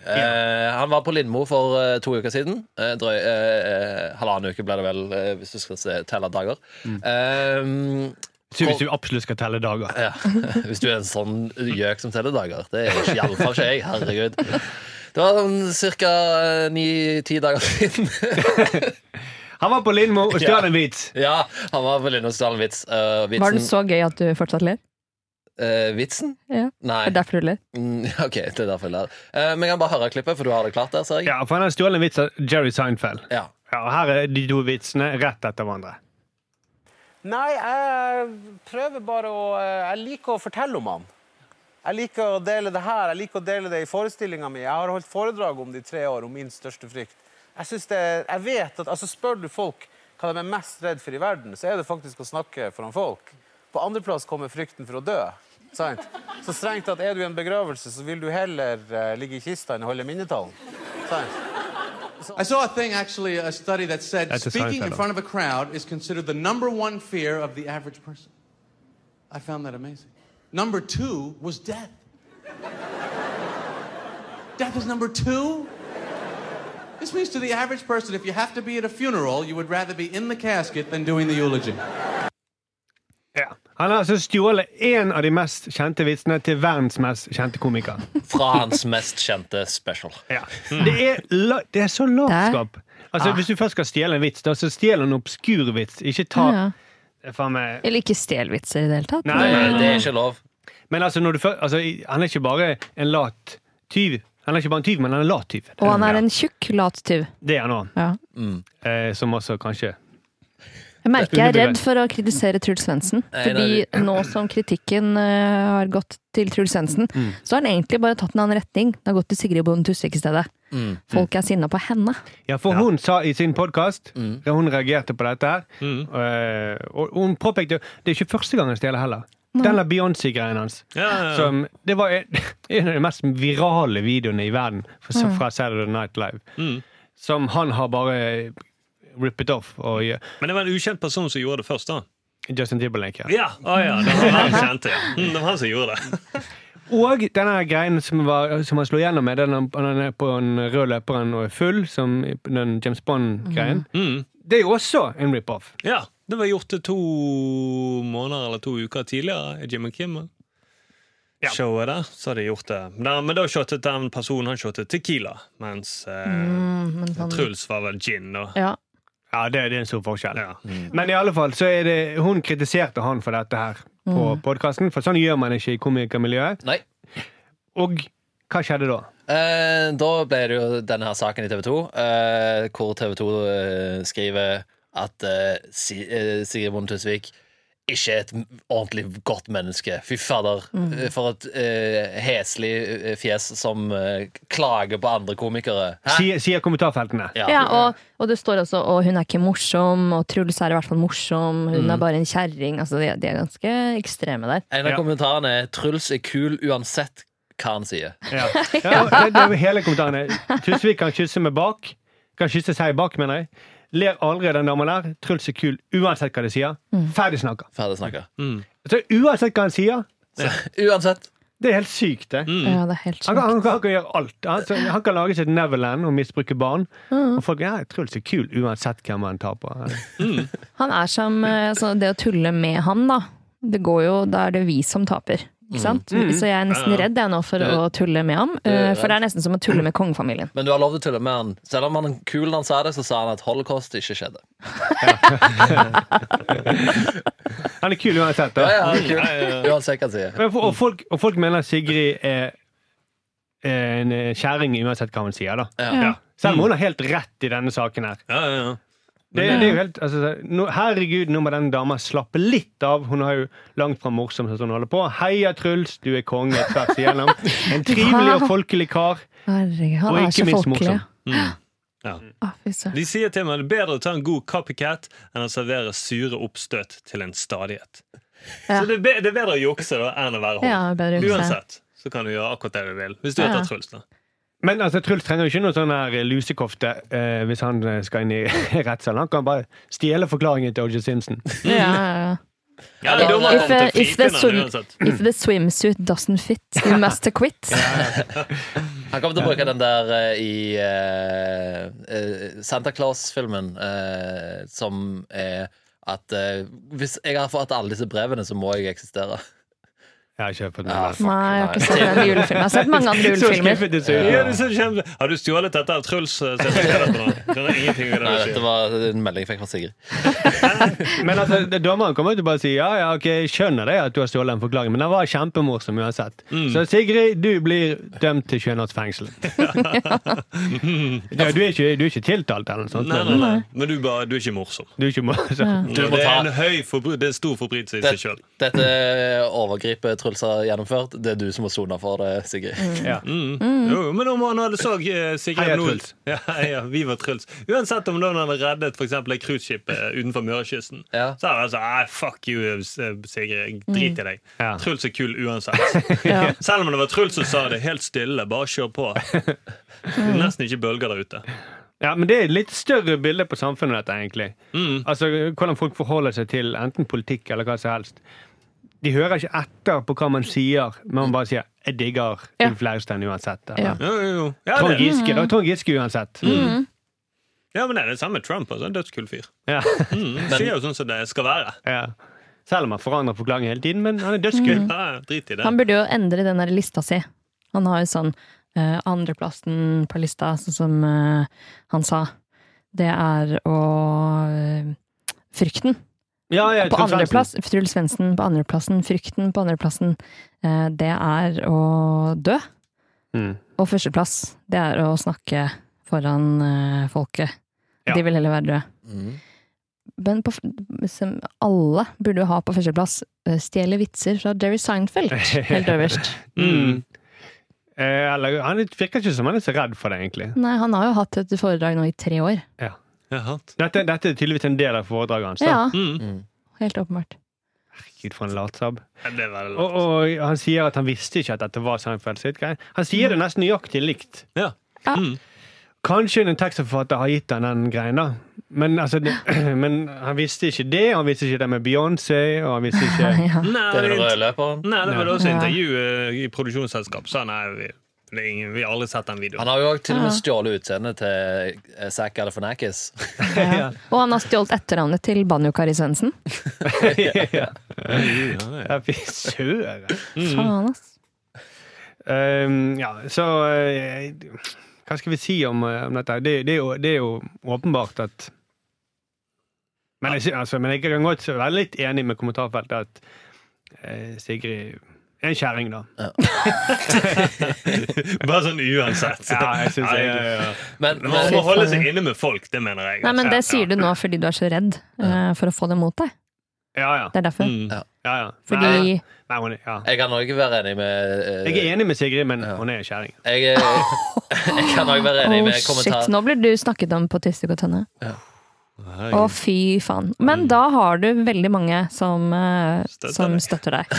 [SPEAKER 3] Eh, Han var på Lindmo for eh, to uker siden. Eh, drøy, eh, eh, halvannen uke ble det vel, eh, hvis du skal se, telle dager. Eh,
[SPEAKER 4] Så hvis du absolutt skal telle dager.
[SPEAKER 3] ja. Hvis du er en sånn gjøk som teller dager. Det er ikke- i alle fall ikke jeg. Herregud. Det var sånn ca. ni-ti dager siden.
[SPEAKER 4] Han var på Lindmo og stjal en vits.
[SPEAKER 3] Ja, han var på Lindås Dalen Vits. eh, vitsen
[SPEAKER 2] Var den så gøy at du fortsatt ler?
[SPEAKER 3] eh, Vitsen?
[SPEAKER 2] Ja.
[SPEAKER 3] Nei.
[SPEAKER 2] Er det derfor du ler?
[SPEAKER 3] Mm, OK, det er derfor jeg ler. Eh, men jeg kan bare høre klippet, for du har det klart der, ser jeg.
[SPEAKER 4] Ja, for han har stjålet en vits av Jerry Seinfeld.
[SPEAKER 3] Ja.
[SPEAKER 4] Ja, og her er de to vitsene rett etter hverandre.
[SPEAKER 1] Nei, jeg prøver bare å eh, Jeg liker å fortelle om han. Jeg liker å dele det her, jeg liker å dele det i forestillinga mi. Jeg har holdt foredrag om det i tre år, om min største frykt. Jeg synes det, jeg vet at, altså Spør du folk hva de er mest redd for i verden, så er det faktisk å snakke foran folk. På andreplass kommer frykten for å dø. Sant? Så strengt tatt er du i en begravelse, så vil du heller eh, ligge i kista enn å holde minnetallen. Sant?
[SPEAKER 7] I saw a thing, actually, a study that said
[SPEAKER 4] That's a
[SPEAKER 7] speaking in
[SPEAKER 4] Seinfeld.
[SPEAKER 7] front of a crowd is considered the number one fear of the average person. I found that amazing. Number two was death. death is number two? This means to the average person, if you have to be at a funeral, you would rather be in the casket than doing the eulogy.
[SPEAKER 4] Ja. Han har altså stjålet én av de mest kjente vitsene til verdens mest kjente komiker.
[SPEAKER 3] Fra hans mest kjente special.
[SPEAKER 4] Ja. Det, er la, det er så
[SPEAKER 2] Ah.
[SPEAKER 4] latskap. Altså, Hvis du først skal stjele en vits, da, så stjel en obskur vits. Ikke ta
[SPEAKER 2] Ja.
[SPEAKER 4] er faen meg
[SPEAKER 2] Eller ikke stelvitser i det hele tatt.
[SPEAKER 4] Nei,
[SPEAKER 3] Nei,
[SPEAKER 4] nei,
[SPEAKER 3] det er ikke lov.
[SPEAKER 4] Men altså, når du, fø- altså, i- han er ikke bare en lat tyv. Han er ikke bare en tyv, men han er en lat tyv.
[SPEAKER 2] Og han er
[SPEAKER 4] Ja,
[SPEAKER 2] en tjukk, lat tyv.
[SPEAKER 4] Det er han òg.
[SPEAKER 2] Ja.
[SPEAKER 4] Eh, som også kanskje
[SPEAKER 2] Jeg merker jeg er
[SPEAKER 4] Underbevegelig.
[SPEAKER 2] redd for å kritisere Truls Svendsen.
[SPEAKER 3] Nei,
[SPEAKER 2] Fordi
[SPEAKER 3] nei,
[SPEAKER 2] nå som kritikken eh, har gått til Truls Svendsen, så har han egentlig bare tatt en annen retning. Det har gått til Sigrid Bonde Tusvik i stedet. Folk er sinna på henne.
[SPEAKER 4] Ja, Mm. for hun sa i sin podkast Hun reagerte på dette her. eh, og hun påpekte Det er ikke første gang han stjeler heller. Den der Beyoncé-greien hans.
[SPEAKER 6] Ja, ja, ja.
[SPEAKER 4] Som, det var en, en av de mest virale videoene i verden fra, fra Saturday Night Live. Som han har bare rippet off. Og, gjør-
[SPEAKER 6] Men det var en ukjent person som gjorde det først, da.
[SPEAKER 4] Justin Timberlake. Ja.
[SPEAKER 6] Ja, å ja, det var han kjente. ja. Mm, det var han som gjorde det.
[SPEAKER 4] Og denne her greien som, var, som han slo gjennom med, den han- han er på den røde løperen og er full, som i den James Bond-greien,
[SPEAKER 6] Mm.
[SPEAKER 4] det er jo også en rip-off.
[SPEAKER 6] Ja, Det var gjort det to måneder eller to uker tidligere. i Jimmy Kimmel. Showet der, så hadde de gjort det. Men da- men da shottet den personen han shottet Tequila, mens eh,
[SPEAKER 2] Men sånn-
[SPEAKER 6] Truls var vel gin. da.
[SPEAKER 2] ja.
[SPEAKER 4] Ja, det, det er en stor forskjell. Mm.
[SPEAKER 6] Ja.
[SPEAKER 4] Men i alle fall så er det Hun kritiserte han for dette her på podkasten, for sånn gjør man ikke i komikermiljøet.
[SPEAKER 3] Nei.
[SPEAKER 4] Og hva skjedde da?
[SPEAKER 3] Eh, da ble det jo denne her saken i TV 2, eh, hvor TV 2 eh, skriver at eh, si, eh, Sigrid Bonde Tusvik ikke er et m- ordentlig godt menneske. Fy fader, eh, for et eh, heslig eh, fjes som eh, klager på andre komikere. Hæ?
[SPEAKER 4] Sier, sier kommentarfeltene.
[SPEAKER 3] Ja.
[SPEAKER 2] Ja, og, og det står også Og hun er ikke morsom, og Truls er i hvert fall morsom. Hun er bare en kjerring. Altså, de, de er ganske ekstreme der.
[SPEAKER 3] En av
[SPEAKER 4] Ja.
[SPEAKER 3] kommentarene er 'Truls er kul uansett hva han sier'.
[SPEAKER 4] Ja. Ja, det, det er hele kommentaren. Tusvik kan kysse med bak. Kan kysse seg bak, mener jeg. Ler aldri av den damen der. Truls er kul uansett hva de sier. Ferdig snakka.
[SPEAKER 3] Ferdig snakka.
[SPEAKER 4] Så uansett hva han sier,
[SPEAKER 3] Uansett.
[SPEAKER 4] det er helt sykt, det.
[SPEAKER 3] Mm.
[SPEAKER 2] Ja, det er helt
[SPEAKER 4] Han
[SPEAKER 2] sjukt.
[SPEAKER 4] kan, han, kan, han kan gjøre alt. Han, så, han kan lage sitt Neverland og misbruke barn. Og folk ja, Truls er kul uansett hvem han tar på.
[SPEAKER 2] Han er som eh, så Det å tulle med han, da. Det går jo, Da er det vi som taper. Ikke sant?
[SPEAKER 4] Mm.
[SPEAKER 2] Så jeg er nesten redd jeg nå for
[SPEAKER 3] Du-
[SPEAKER 2] å tulle med ham. eh, For det er nesten som å tulle med kongefamilien.
[SPEAKER 3] Men du har lov til å tulle med han. Selv om han er kul når han sa det, så sa han at holocaust ikke skjedde.
[SPEAKER 4] Han er kul uansett. Da.
[SPEAKER 3] Ja, ja, han er kul. Uansett hva han sier.
[SPEAKER 4] Men, for- og, folk, og folk mener Sigrid er en eh, kjerring uansett hva hun sier, da.
[SPEAKER 3] Ja. Mm.
[SPEAKER 6] Ja.
[SPEAKER 4] Selv om hun har helt rett i denne saken her.
[SPEAKER 6] Ja, ja, ja.
[SPEAKER 4] Det, det er jo helt, altså, nå, herregud, nå må den dama slappe litt av. Hun har jo langt fra morsom som hun holder på. Heia Truls, du er konge tvers igjennom. En trivelig og folkelig kar.
[SPEAKER 2] Herregud, han
[SPEAKER 4] Og
[SPEAKER 2] er
[SPEAKER 4] ikke
[SPEAKER 2] så
[SPEAKER 4] minst
[SPEAKER 2] folkelig.
[SPEAKER 4] morsom. Mm.
[SPEAKER 6] Ja.
[SPEAKER 2] Å, fy søren.
[SPEAKER 6] De sier til meg det er bedre å ta en god copycat enn å servere sure oppstøt til en stadighet.
[SPEAKER 2] Ja.
[SPEAKER 6] Så det er, be det er bedre å jukse da enn å være
[SPEAKER 2] Ja,
[SPEAKER 6] hård.
[SPEAKER 2] bedre å jukse.
[SPEAKER 6] Uansett så kan du gjøre akkurat det du vil. Hvis du
[SPEAKER 2] Ja.
[SPEAKER 6] heter Truls, da.
[SPEAKER 4] Men altså, Truls trenger jo ikke noe sånn her lusekofte eh, hvis han eh, skal inn i rettssalen. Han kan bare stjele forklaringen til O.J. Simpson.
[SPEAKER 2] Ja, ja, ja.
[SPEAKER 6] Ja,
[SPEAKER 3] det er
[SPEAKER 6] dommer
[SPEAKER 3] det.
[SPEAKER 6] kommer til å
[SPEAKER 2] If, uh, if
[SPEAKER 6] frifinne
[SPEAKER 2] the
[SPEAKER 6] han
[SPEAKER 2] swim-
[SPEAKER 6] uansett.
[SPEAKER 2] If the swimsuit doesn't fit, you must quit.
[SPEAKER 3] Han kommer til å bruke den der eh, i eh, eh, Santa Claus-filmen, eh, som er at eh, Hvis jeg har fått alle disse brevene, så må jeg eksistere.
[SPEAKER 4] Jeg har ikke fått med
[SPEAKER 3] Ja,
[SPEAKER 4] meg.
[SPEAKER 3] fuck,
[SPEAKER 2] Nei, jeg har
[SPEAKER 3] nei.
[SPEAKER 2] ikke sett den julefilmen. Jeg har sett mange andre
[SPEAKER 4] Så
[SPEAKER 2] julefilmer.
[SPEAKER 4] skuffet det ser ut.
[SPEAKER 6] Ja, det er så kjempe. Har du stjålet dette av Truls? Så jeg skal dette nå. Det er ingenting ved det
[SPEAKER 3] Nei,
[SPEAKER 6] du
[SPEAKER 3] dette
[SPEAKER 6] sier.
[SPEAKER 3] var en melding jeg fikk fra Sigrid.
[SPEAKER 4] Men altså, det- dommeren kommer til å bare si ja, ja, ok, jeg skjønner det at du har stjålet en forklaring, men den var kjempemorsom uansett.
[SPEAKER 6] Mm.
[SPEAKER 4] Så Sigrid, du blir dømt til 21 års fengsel. ja, du, er ikke, du er ikke tiltalt eller noe sånt.
[SPEAKER 6] Nei,
[SPEAKER 4] men
[SPEAKER 6] nei, nei. Men du, bare, du er ikke morsom.
[SPEAKER 4] Du er ikke morsom.
[SPEAKER 3] Du må
[SPEAKER 6] det
[SPEAKER 3] ta-
[SPEAKER 6] er en høy forbry- det er en stor forbrytelse i
[SPEAKER 3] Det,
[SPEAKER 6] seg sjøl.
[SPEAKER 3] dette overgripet Truls har gjennomført, det er du som må sone for det,
[SPEAKER 2] Mm.
[SPEAKER 3] Sigrid.
[SPEAKER 4] Ja.
[SPEAKER 6] Jo, men om han hadde så eh, Sigrid
[SPEAKER 4] Mm. Heia
[SPEAKER 6] Nol-
[SPEAKER 4] Truls.
[SPEAKER 6] Ja, ja, vi var Truls. Uansett om da han hadde reddet f.eks. et cruiseskip eh, utenfor Mørekysten,
[SPEAKER 3] Ja.
[SPEAKER 6] så hadde han sagt «Nei, fuck you, eh, Sigrid. Jeg driter i deg.
[SPEAKER 4] Mm. Ja.
[SPEAKER 6] Truls er kul uansett. Selv om det var Truls som sa det helt stille. Bare kjør på. Det er nesten ikke bølger der ute.
[SPEAKER 4] Ja, men det er et litt større bilde på samfunnet dette, egentlig.
[SPEAKER 6] Mm.
[SPEAKER 4] Altså, Hvordan folk forholder seg til enten politikk eller hva som helst. De hører ikke etter på hva man sier, men man bare sier 'jeg digger
[SPEAKER 2] Ja.
[SPEAKER 4] Ulf Leirstein uansett'.
[SPEAKER 2] Ja. Mm.
[SPEAKER 4] Eller
[SPEAKER 6] Jo, jo, jo. Ja,
[SPEAKER 4] Trond
[SPEAKER 6] det,
[SPEAKER 4] Giske, da. Trond Giske uansett.
[SPEAKER 6] ja, men det er det samme med Trump. Altså. En Dødskul fyr.
[SPEAKER 4] Ja.
[SPEAKER 6] Mm, sier jo sånn som det skal være.
[SPEAKER 4] Ja. Selv om han forandrer forklaringen hele tiden, men han er dødskul.
[SPEAKER 2] Mhm.
[SPEAKER 6] Ja, ja, drit i det.
[SPEAKER 2] Han burde jo endre den der lista si. Han har jo sånn eh, andreplassen på lista, sånn som eh, han sa. Det er å eh, Frykten.
[SPEAKER 4] Ja, ja,
[SPEAKER 2] På
[SPEAKER 4] Truls Hansen.
[SPEAKER 2] andreplass Truls Svendsen på andreplassen, Frykten på andreplassen. Eh, Det er å dø.
[SPEAKER 4] Mm.
[SPEAKER 2] Og førsteplass, det er å snakke foran eh, folket.
[SPEAKER 4] Ja.
[SPEAKER 2] De vil heller være døde.
[SPEAKER 3] Mm.
[SPEAKER 2] Men på, f- som alle burde jo ha på førsteplass eh, stjele vitser fra Jerry Seinfeld. Helt øverst.
[SPEAKER 4] Mm. Eh, eller, han virker ikke som han er så redd for det, egentlig.
[SPEAKER 2] Nei, han har jo hatt et foredrag nå i tre år.
[SPEAKER 6] Jaha.
[SPEAKER 4] Dette, dette er tydeligvis en del av foredraget hans. da.
[SPEAKER 2] Ja,
[SPEAKER 6] Mm.
[SPEAKER 2] helt åpenbart.
[SPEAKER 4] Herregud, for en latsabb.
[SPEAKER 6] Ja, Det er veldig
[SPEAKER 4] Og, og han sier at han visste ikke at dette var Seinfeld sitt greie. Han sier det nesten nøyaktig likt.
[SPEAKER 6] Ja.
[SPEAKER 2] Ja.
[SPEAKER 6] Mm.
[SPEAKER 4] Kanskje en tekstforfatter har gitt han den greien, da. Men, altså, det, men han visste ikke det, og han visste ikke det med Beyoncé, og han visste ikke
[SPEAKER 2] Ja.
[SPEAKER 6] Nei,
[SPEAKER 3] Det er den
[SPEAKER 6] det-
[SPEAKER 3] røde løperen.
[SPEAKER 6] Nei, det var det også
[SPEAKER 2] Ja.
[SPEAKER 6] intervju eh, i produksjonsselskap. Så nei, vi, det er ingen, vi har aldri sett den videoen.
[SPEAKER 3] Han har jo også til og med stjålet utseendet til eh, Zac Galifianakis.
[SPEAKER 2] Ja. Og han har stjålet etternavnet til Banjo-Kari Svendsen.
[SPEAKER 4] Ja. Ja, Fy søren.
[SPEAKER 2] Faen, ass.
[SPEAKER 4] Ehm, ja, så eh, Hva skal vi si om, eh, om dette? Det, det, er jo, det er jo åpenbart at Men jeg, sy- altså, men jeg kan godt være litt enig med kommentarfeltet at eh, Sigrid er en kjerring, da.
[SPEAKER 6] Bare sånn uansett.
[SPEAKER 4] Ja, jeg synes jeg-
[SPEAKER 3] Men,
[SPEAKER 6] Men Man
[SPEAKER 3] men
[SPEAKER 6] må holde seg inne med folk, det mener jeg.
[SPEAKER 2] Nei, men det
[SPEAKER 6] Ja.
[SPEAKER 2] sier du nå fordi du er så redd eh, for å få det mot deg.
[SPEAKER 4] Ja, ja.
[SPEAKER 2] Det er derfor.
[SPEAKER 6] Mm.
[SPEAKER 4] ja, ja. Nei,
[SPEAKER 2] Fordi
[SPEAKER 4] nei, hun er, ja.
[SPEAKER 3] jeg kan også være enig med eh,
[SPEAKER 4] Jeg er enig med Sigrid, men hun er en kjerring.
[SPEAKER 3] jeg, jeg, kan også være enig
[SPEAKER 2] Oh
[SPEAKER 3] med
[SPEAKER 2] shit,
[SPEAKER 3] kommentar.
[SPEAKER 2] nå blir du snakket om på Tisdag og Tønne. Å, fy faen. Men da har du veldig mange som, eh,
[SPEAKER 6] Støtter
[SPEAKER 2] som
[SPEAKER 6] deg.
[SPEAKER 2] støtter deg.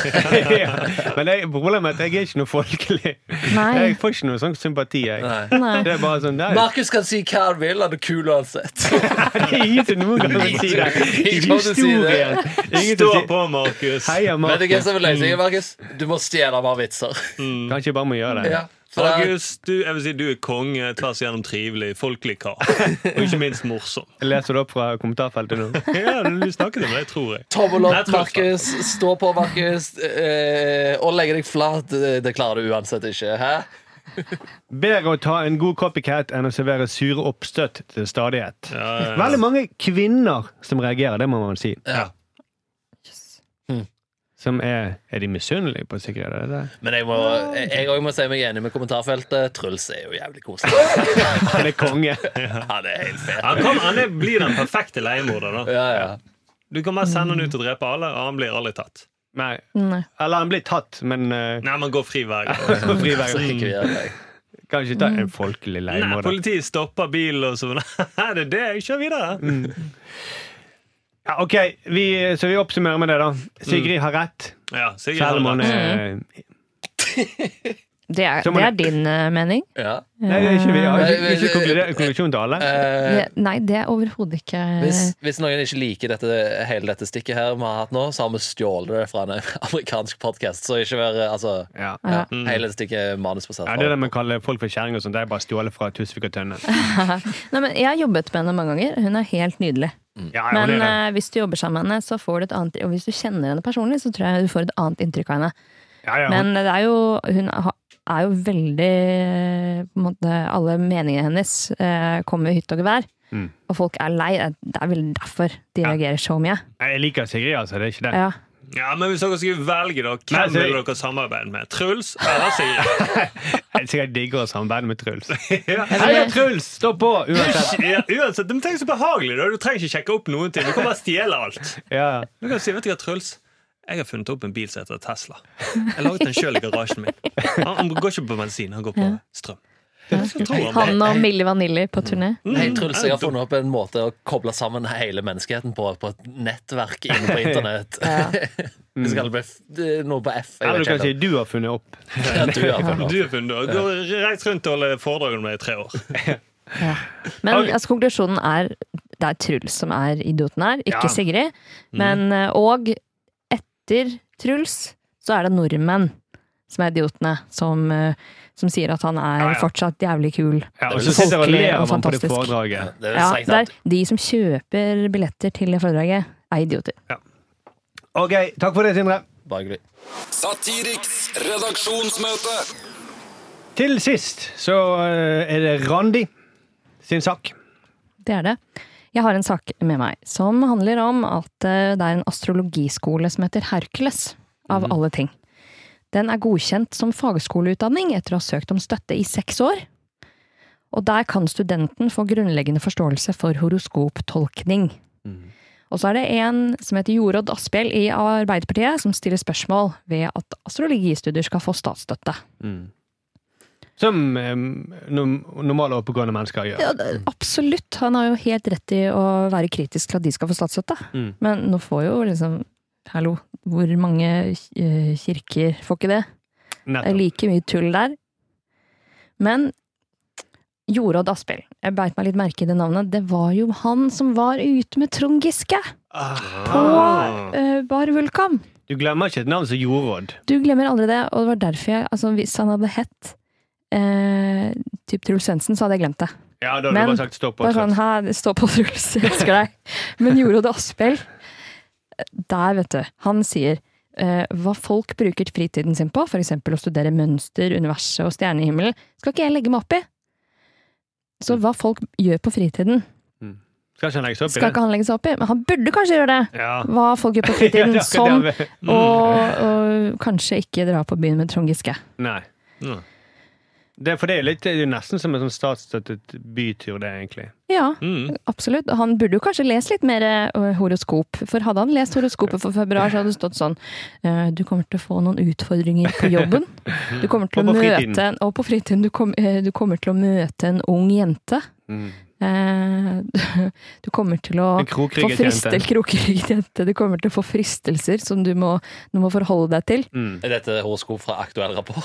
[SPEAKER 4] ja. Men jeg, problemet er at jeg er ikke noe folkelig.
[SPEAKER 2] Nei.
[SPEAKER 4] Jeg får ikke noe sånn sympati. Jeg.
[SPEAKER 3] Nei.
[SPEAKER 2] Nei.
[SPEAKER 4] Det er bare sånn nei,
[SPEAKER 3] Markus kan si hva han vil, han er kul uansett.
[SPEAKER 4] Det er ingen som noen gang vil si det. I
[SPEAKER 3] Ingen kan si det.
[SPEAKER 4] historien. Ingen
[SPEAKER 6] Stå
[SPEAKER 4] som sier-
[SPEAKER 6] på, Markus!
[SPEAKER 4] Heia,
[SPEAKER 3] Vet du
[SPEAKER 4] Markus.
[SPEAKER 3] hva som er løsningen, Markus? Du må stjele mer vitser.
[SPEAKER 4] Kanskje jeg bare må gjøre det.
[SPEAKER 3] Ja, for det er-
[SPEAKER 6] Markus, du, jeg vil si du er konge, tvers igjennom trivelig, folkelig kar. Og ikke minst morsom.
[SPEAKER 4] Jeg leser det opp fra kommentarfeltet nå.
[SPEAKER 6] Ja, du snakket om det, tror jeg.
[SPEAKER 3] Tommel
[SPEAKER 6] Nei, jeg
[SPEAKER 3] opp,
[SPEAKER 6] tror det.
[SPEAKER 3] Markus. Stå på, Markus. Eh, og legge deg flat. Det, det klarer du uansett ikke. Hæ?
[SPEAKER 4] Bedre å ta en god copycat enn å servere sure oppstøtt til stadighet.
[SPEAKER 6] Ja, ja,
[SPEAKER 4] Veldig mange kvinner som reagerer, det må man si.
[SPEAKER 3] Ja.
[SPEAKER 4] Som er Er de misunnelige på Sigrid? Er det det?
[SPEAKER 3] Men jeg må, jeg, jeg også må si meg enig med kommentarfeltet. Truls er jo jævlig koselig.
[SPEAKER 4] Han er konge.
[SPEAKER 3] Han er helt fet.
[SPEAKER 6] Han, kom, han er, blir den perfekte leiemorder. da
[SPEAKER 3] Ja, ja.
[SPEAKER 6] Du kan bare sende han
[SPEAKER 4] Mm.
[SPEAKER 6] ut og drepe alle, og han blir aldri tatt.
[SPEAKER 4] Nei.
[SPEAKER 2] Nei.
[SPEAKER 4] Eller han blir tatt, men eh,
[SPEAKER 6] Nei, man går fri hver gang.
[SPEAKER 4] på
[SPEAKER 3] Så
[SPEAKER 4] friveien.
[SPEAKER 3] ikke vi gjør det.
[SPEAKER 4] Kan ikke ta en folkelig
[SPEAKER 6] Nei,
[SPEAKER 4] leiemorder.
[SPEAKER 6] politiet stopper bilen og sånn. Nei, det er det, jeg kjører videre.
[SPEAKER 4] Mm. Ja, ok, vi, så vi oppsummerer med det, da.
[SPEAKER 3] Mm.
[SPEAKER 4] Sigrid har rett.
[SPEAKER 6] Ja, Sigrid har
[SPEAKER 4] Selv om hun
[SPEAKER 6] rett.
[SPEAKER 4] er
[SPEAKER 2] Det er,
[SPEAKER 4] Så må
[SPEAKER 2] det er
[SPEAKER 4] du-
[SPEAKER 2] din eh, mening?
[SPEAKER 3] Ja.
[SPEAKER 4] Nei, det er ikke, vi har ikke, ikke konkludert- konklusjon til alle.
[SPEAKER 3] Eh,
[SPEAKER 2] Det- Nei, det er overhodet ikke
[SPEAKER 3] hvis, hvis noen ikke liker dette, hele dette stikket her vi har hatt nå, så har vi stjålet det fra en amerikansk podkast. Så ikke vær altså
[SPEAKER 4] Ja.
[SPEAKER 3] ja, Hele stikket er manusbasert.
[SPEAKER 4] Ja, Det er det man kaller folk for kjerring og sånt. Det er bare stjålet fra Tusvik og Tønne.
[SPEAKER 2] Nei, men Jeg har jobbet med henne mange ganger. Hun er helt nydelig.
[SPEAKER 4] Ja, ja,
[SPEAKER 2] Men
[SPEAKER 4] det er det.
[SPEAKER 2] eh, hvis du jobber sammen med henne, så får du et annet Og hvis du kjenner henne personlig, så tror jeg du får et annet inntrykk av henne.
[SPEAKER 4] Ja, ja,
[SPEAKER 2] Men
[SPEAKER 4] hun-
[SPEAKER 2] det er jo, hun ha- er jo veldig eh, på en måte, Alle meningene hennes eh, kommer i hytt og gevær.
[SPEAKER 4] Mm.
[SPEAKER 2] Og folk er lei. Det er vel derfor de reagerer så mye.
[SPEAKER 4] Nei, Jeg liker Sigrid, altså. Det er ikke det.
[SPEAKER 2] Ja.
[SPEAKER 6] Ja, men Hvis dere skulle velge, da, hvem
[SPEAKER 4] Nei, så-
[SPEAKER 6] vil dere samarbeide med? Truls eller Sigrid?
[SPEAKER 4] Jeg er sikkert digger å samarbeide med Truls. Heia Truls! Stå på! Uansett.
[SPEAKER 6] Ja, uansett, men Tenk så behagelig, da. Du trenger ikke sjekke opp noen ting. Du kan bare stjele alt.
[SPEAKER 4] Ja.
[SPEAKER 6] Du kan si, vet du hva, Truls jeg har funnet opp en bil som heter Tesla. Jeg laget den sjøl i garasjen min. Han, han går ikke på bensin, han går på strøm. Jeg tror han-
[SPEAKER 2] Han og Milli Vanilli på turné.
[SPEAKER 4] Mm.
[SPEAKER 3] Hei, Truls,
[SPEAKER 6] Mm.
[SPEAKER 3] jeg har funnet opp en måte å koble sammen hele menneskeheten på, på et nettverk inne på internett. Vi skal bli f- det er noe på F. Jeg
[SPEAKER 4] Eller du
[SPEAKER 3] vet
[SPEAKER 4] kan
[SPEAKER 3] ikke
[SPEAKER 4] si
[SPEAKER 3] helt.
[SPEAKER 4] du har funnet opp.
[SPEAKER 3] Ja, du har funnet opp.
[SPEAKER 6] Du har funnet opp. Du har reist rundt og holdt foredrag om det i tre år.
[SPEAKER 2] Men
[SPEAKER 4] Ok.
[SPEAKER 2] altså, konklusjonen er det er Truls som er idioten her, ikke
[SPEAKER 4] Ja. Mm.
[SPEAKER 2] Sigrid. Men, eh, og etter Truls så er det nordmenn som er idiotene, som, eh, som sier at han er
[SPEAKER 4] Ja, ja.
[SPEAKER 2] fortsatt jævlig kul.
[SPEAKER 4] Ja, og så sitter jeg og
[SPEAKER 2] Folkelig
[SPEAKER 4] ler
[SPEAKER 2] og
[SPEAKER 4] av ham på det
[SPEAKER 2] fantastisk.
[SPEAKER 4] foredraget.
[SPEAKER 3] Det er
[SPEAKER 2] Ja,
[SPEAKER 3] strengt
[SPEAKER 2] det er
[SPEAKER 3] tatt.
[SPEAKER 2] de som kjøper billetter til det foredraget, er idioter.
[SPEAKER 4] OK, takk for det, Sindre.
[SPEAKER 3] Bare hyggelig.
[SPEAKER 5] Satiriks redaksjonsmøte.
[SPEAKER 4] Til sist så eh, er det Randi sin sak.
[SPEAKER 2] Det er det. Jeg har en sak med meg som handler om at eh, det er en astrologiskole som heter Hercules, av alle ting. Den er godkjent som fagskoleutdanning etter å ha søkt om støtte i seks år. Og der kan studenten få grunnleggende forståelse for horoskoptolkning. Og så er det en som heter Jorodd Asphjell i Arbeiderpartiet, som stiller spørsmål ved at astrologistudier skal få statsstøtte.
[SPEAKER 4] Som eh, norm- normale oppegående mennesker gjør.
[SPEAKER 2] Ja, det- absolutt. Han har jo helt rett i å være kritisk til at de skal få statsstøtte.
[SPEAKER 4] Mm.
[SPEAKER 2] Men nå får jo liksom Hallo, hvor mange eh, kirker får ikke det? Det er
[SPEAKER 4] Nettopp.
[SPEAKER 2] like mye tull der. Men Jorodd Asphjell, jeg beit meg litt merke i det navnet. Det var jo han som var ute med Trond Giske på eh, Bar Vulkan.
[SPEAKER 4] Ah. Du glemmer ikke et navn som Jorodd.
[SPEAKER 2] Du glemmer aldri det, og det var derfor jeg altså, Hvis han hadde hett eh, typ Truls Svendsen, så hadde jeg glemt det.
[SPEAKER 4] Ja, da hadde
[SPEAKER 2] Men-
[SPEAKER 4] du bare sagt stopp.
[SPEAKER 2] Bare sånn, her, stå på Truls, jeg elsker deg. Men Jorodd Asphjell, der vet du, han sier eh, hva folk bruker fritiden sin på, f.eks. å studere mønster, universet og stjernehimmelen, skal ikke jeg legge meg opp i. Så
[SPEAKER 4] Mm.
[SPEAKER 2] hva folk gjør på fritiden,
[SPEAKER 4] Skal ikke han legge seg opp i
[SPEAKER 2] skal
[SPEAKER 4] det?
[SPEAKER 2] ikke han legge seg opp i. Men han burde kanskje gjøre det!
[SPEAKER 4] Ja.
[SPEAKER 2] Hva folk gjør på
[SPEAKER 4] Ja,
[SPEAKER 2] fritiden,
[SPEAKER 4] det er akkurat
[SPEAKER 2] som
[SPEAKER 4] det han vil.
[SPEAKER 2] å å kanskje ikke dra på byen med Trond Giske.
[SPEAKER 4] Nei.
[SPEAKER 6] Mm.
[SPEAKER 4] Det, for det er, jo litt, det er jo nesten som en sånn statsstøttet bytur, det, egentlig.
[SPEAKER 2] Ja,
[SPEAKER 6] Mm.
[SPEAKER 2] Absolutt. og Han burde jo kanskje lest litt mer eh, horoskop. For hadde han lest horoskopet for februar, så hadde det stått sånn eh, Du kommer til å få noen utfordringer på jobben. Du kommer til å
[SPEAKER 4] Og på fritiden.
[SPEAKER 2] møte Og på fritiden. Du, kom, eh, du kommer til å møte en ung jente. Eh, Du kommer til å
[SPEAKER 4] Mm. En
[SPEAKER 2] få
[SPEAKER 4] krokrygget
[SPEAKER 2] fristel,
[SPEAKER 4] jente.
[SPEAKER 2] krokrygget jente. Du kommer til å få fristelser som du må, du må forholde deg til.
[SPEAKER 4] Mm.
[SPEAKER 3] Er dette horoskop fra aktuell rapport?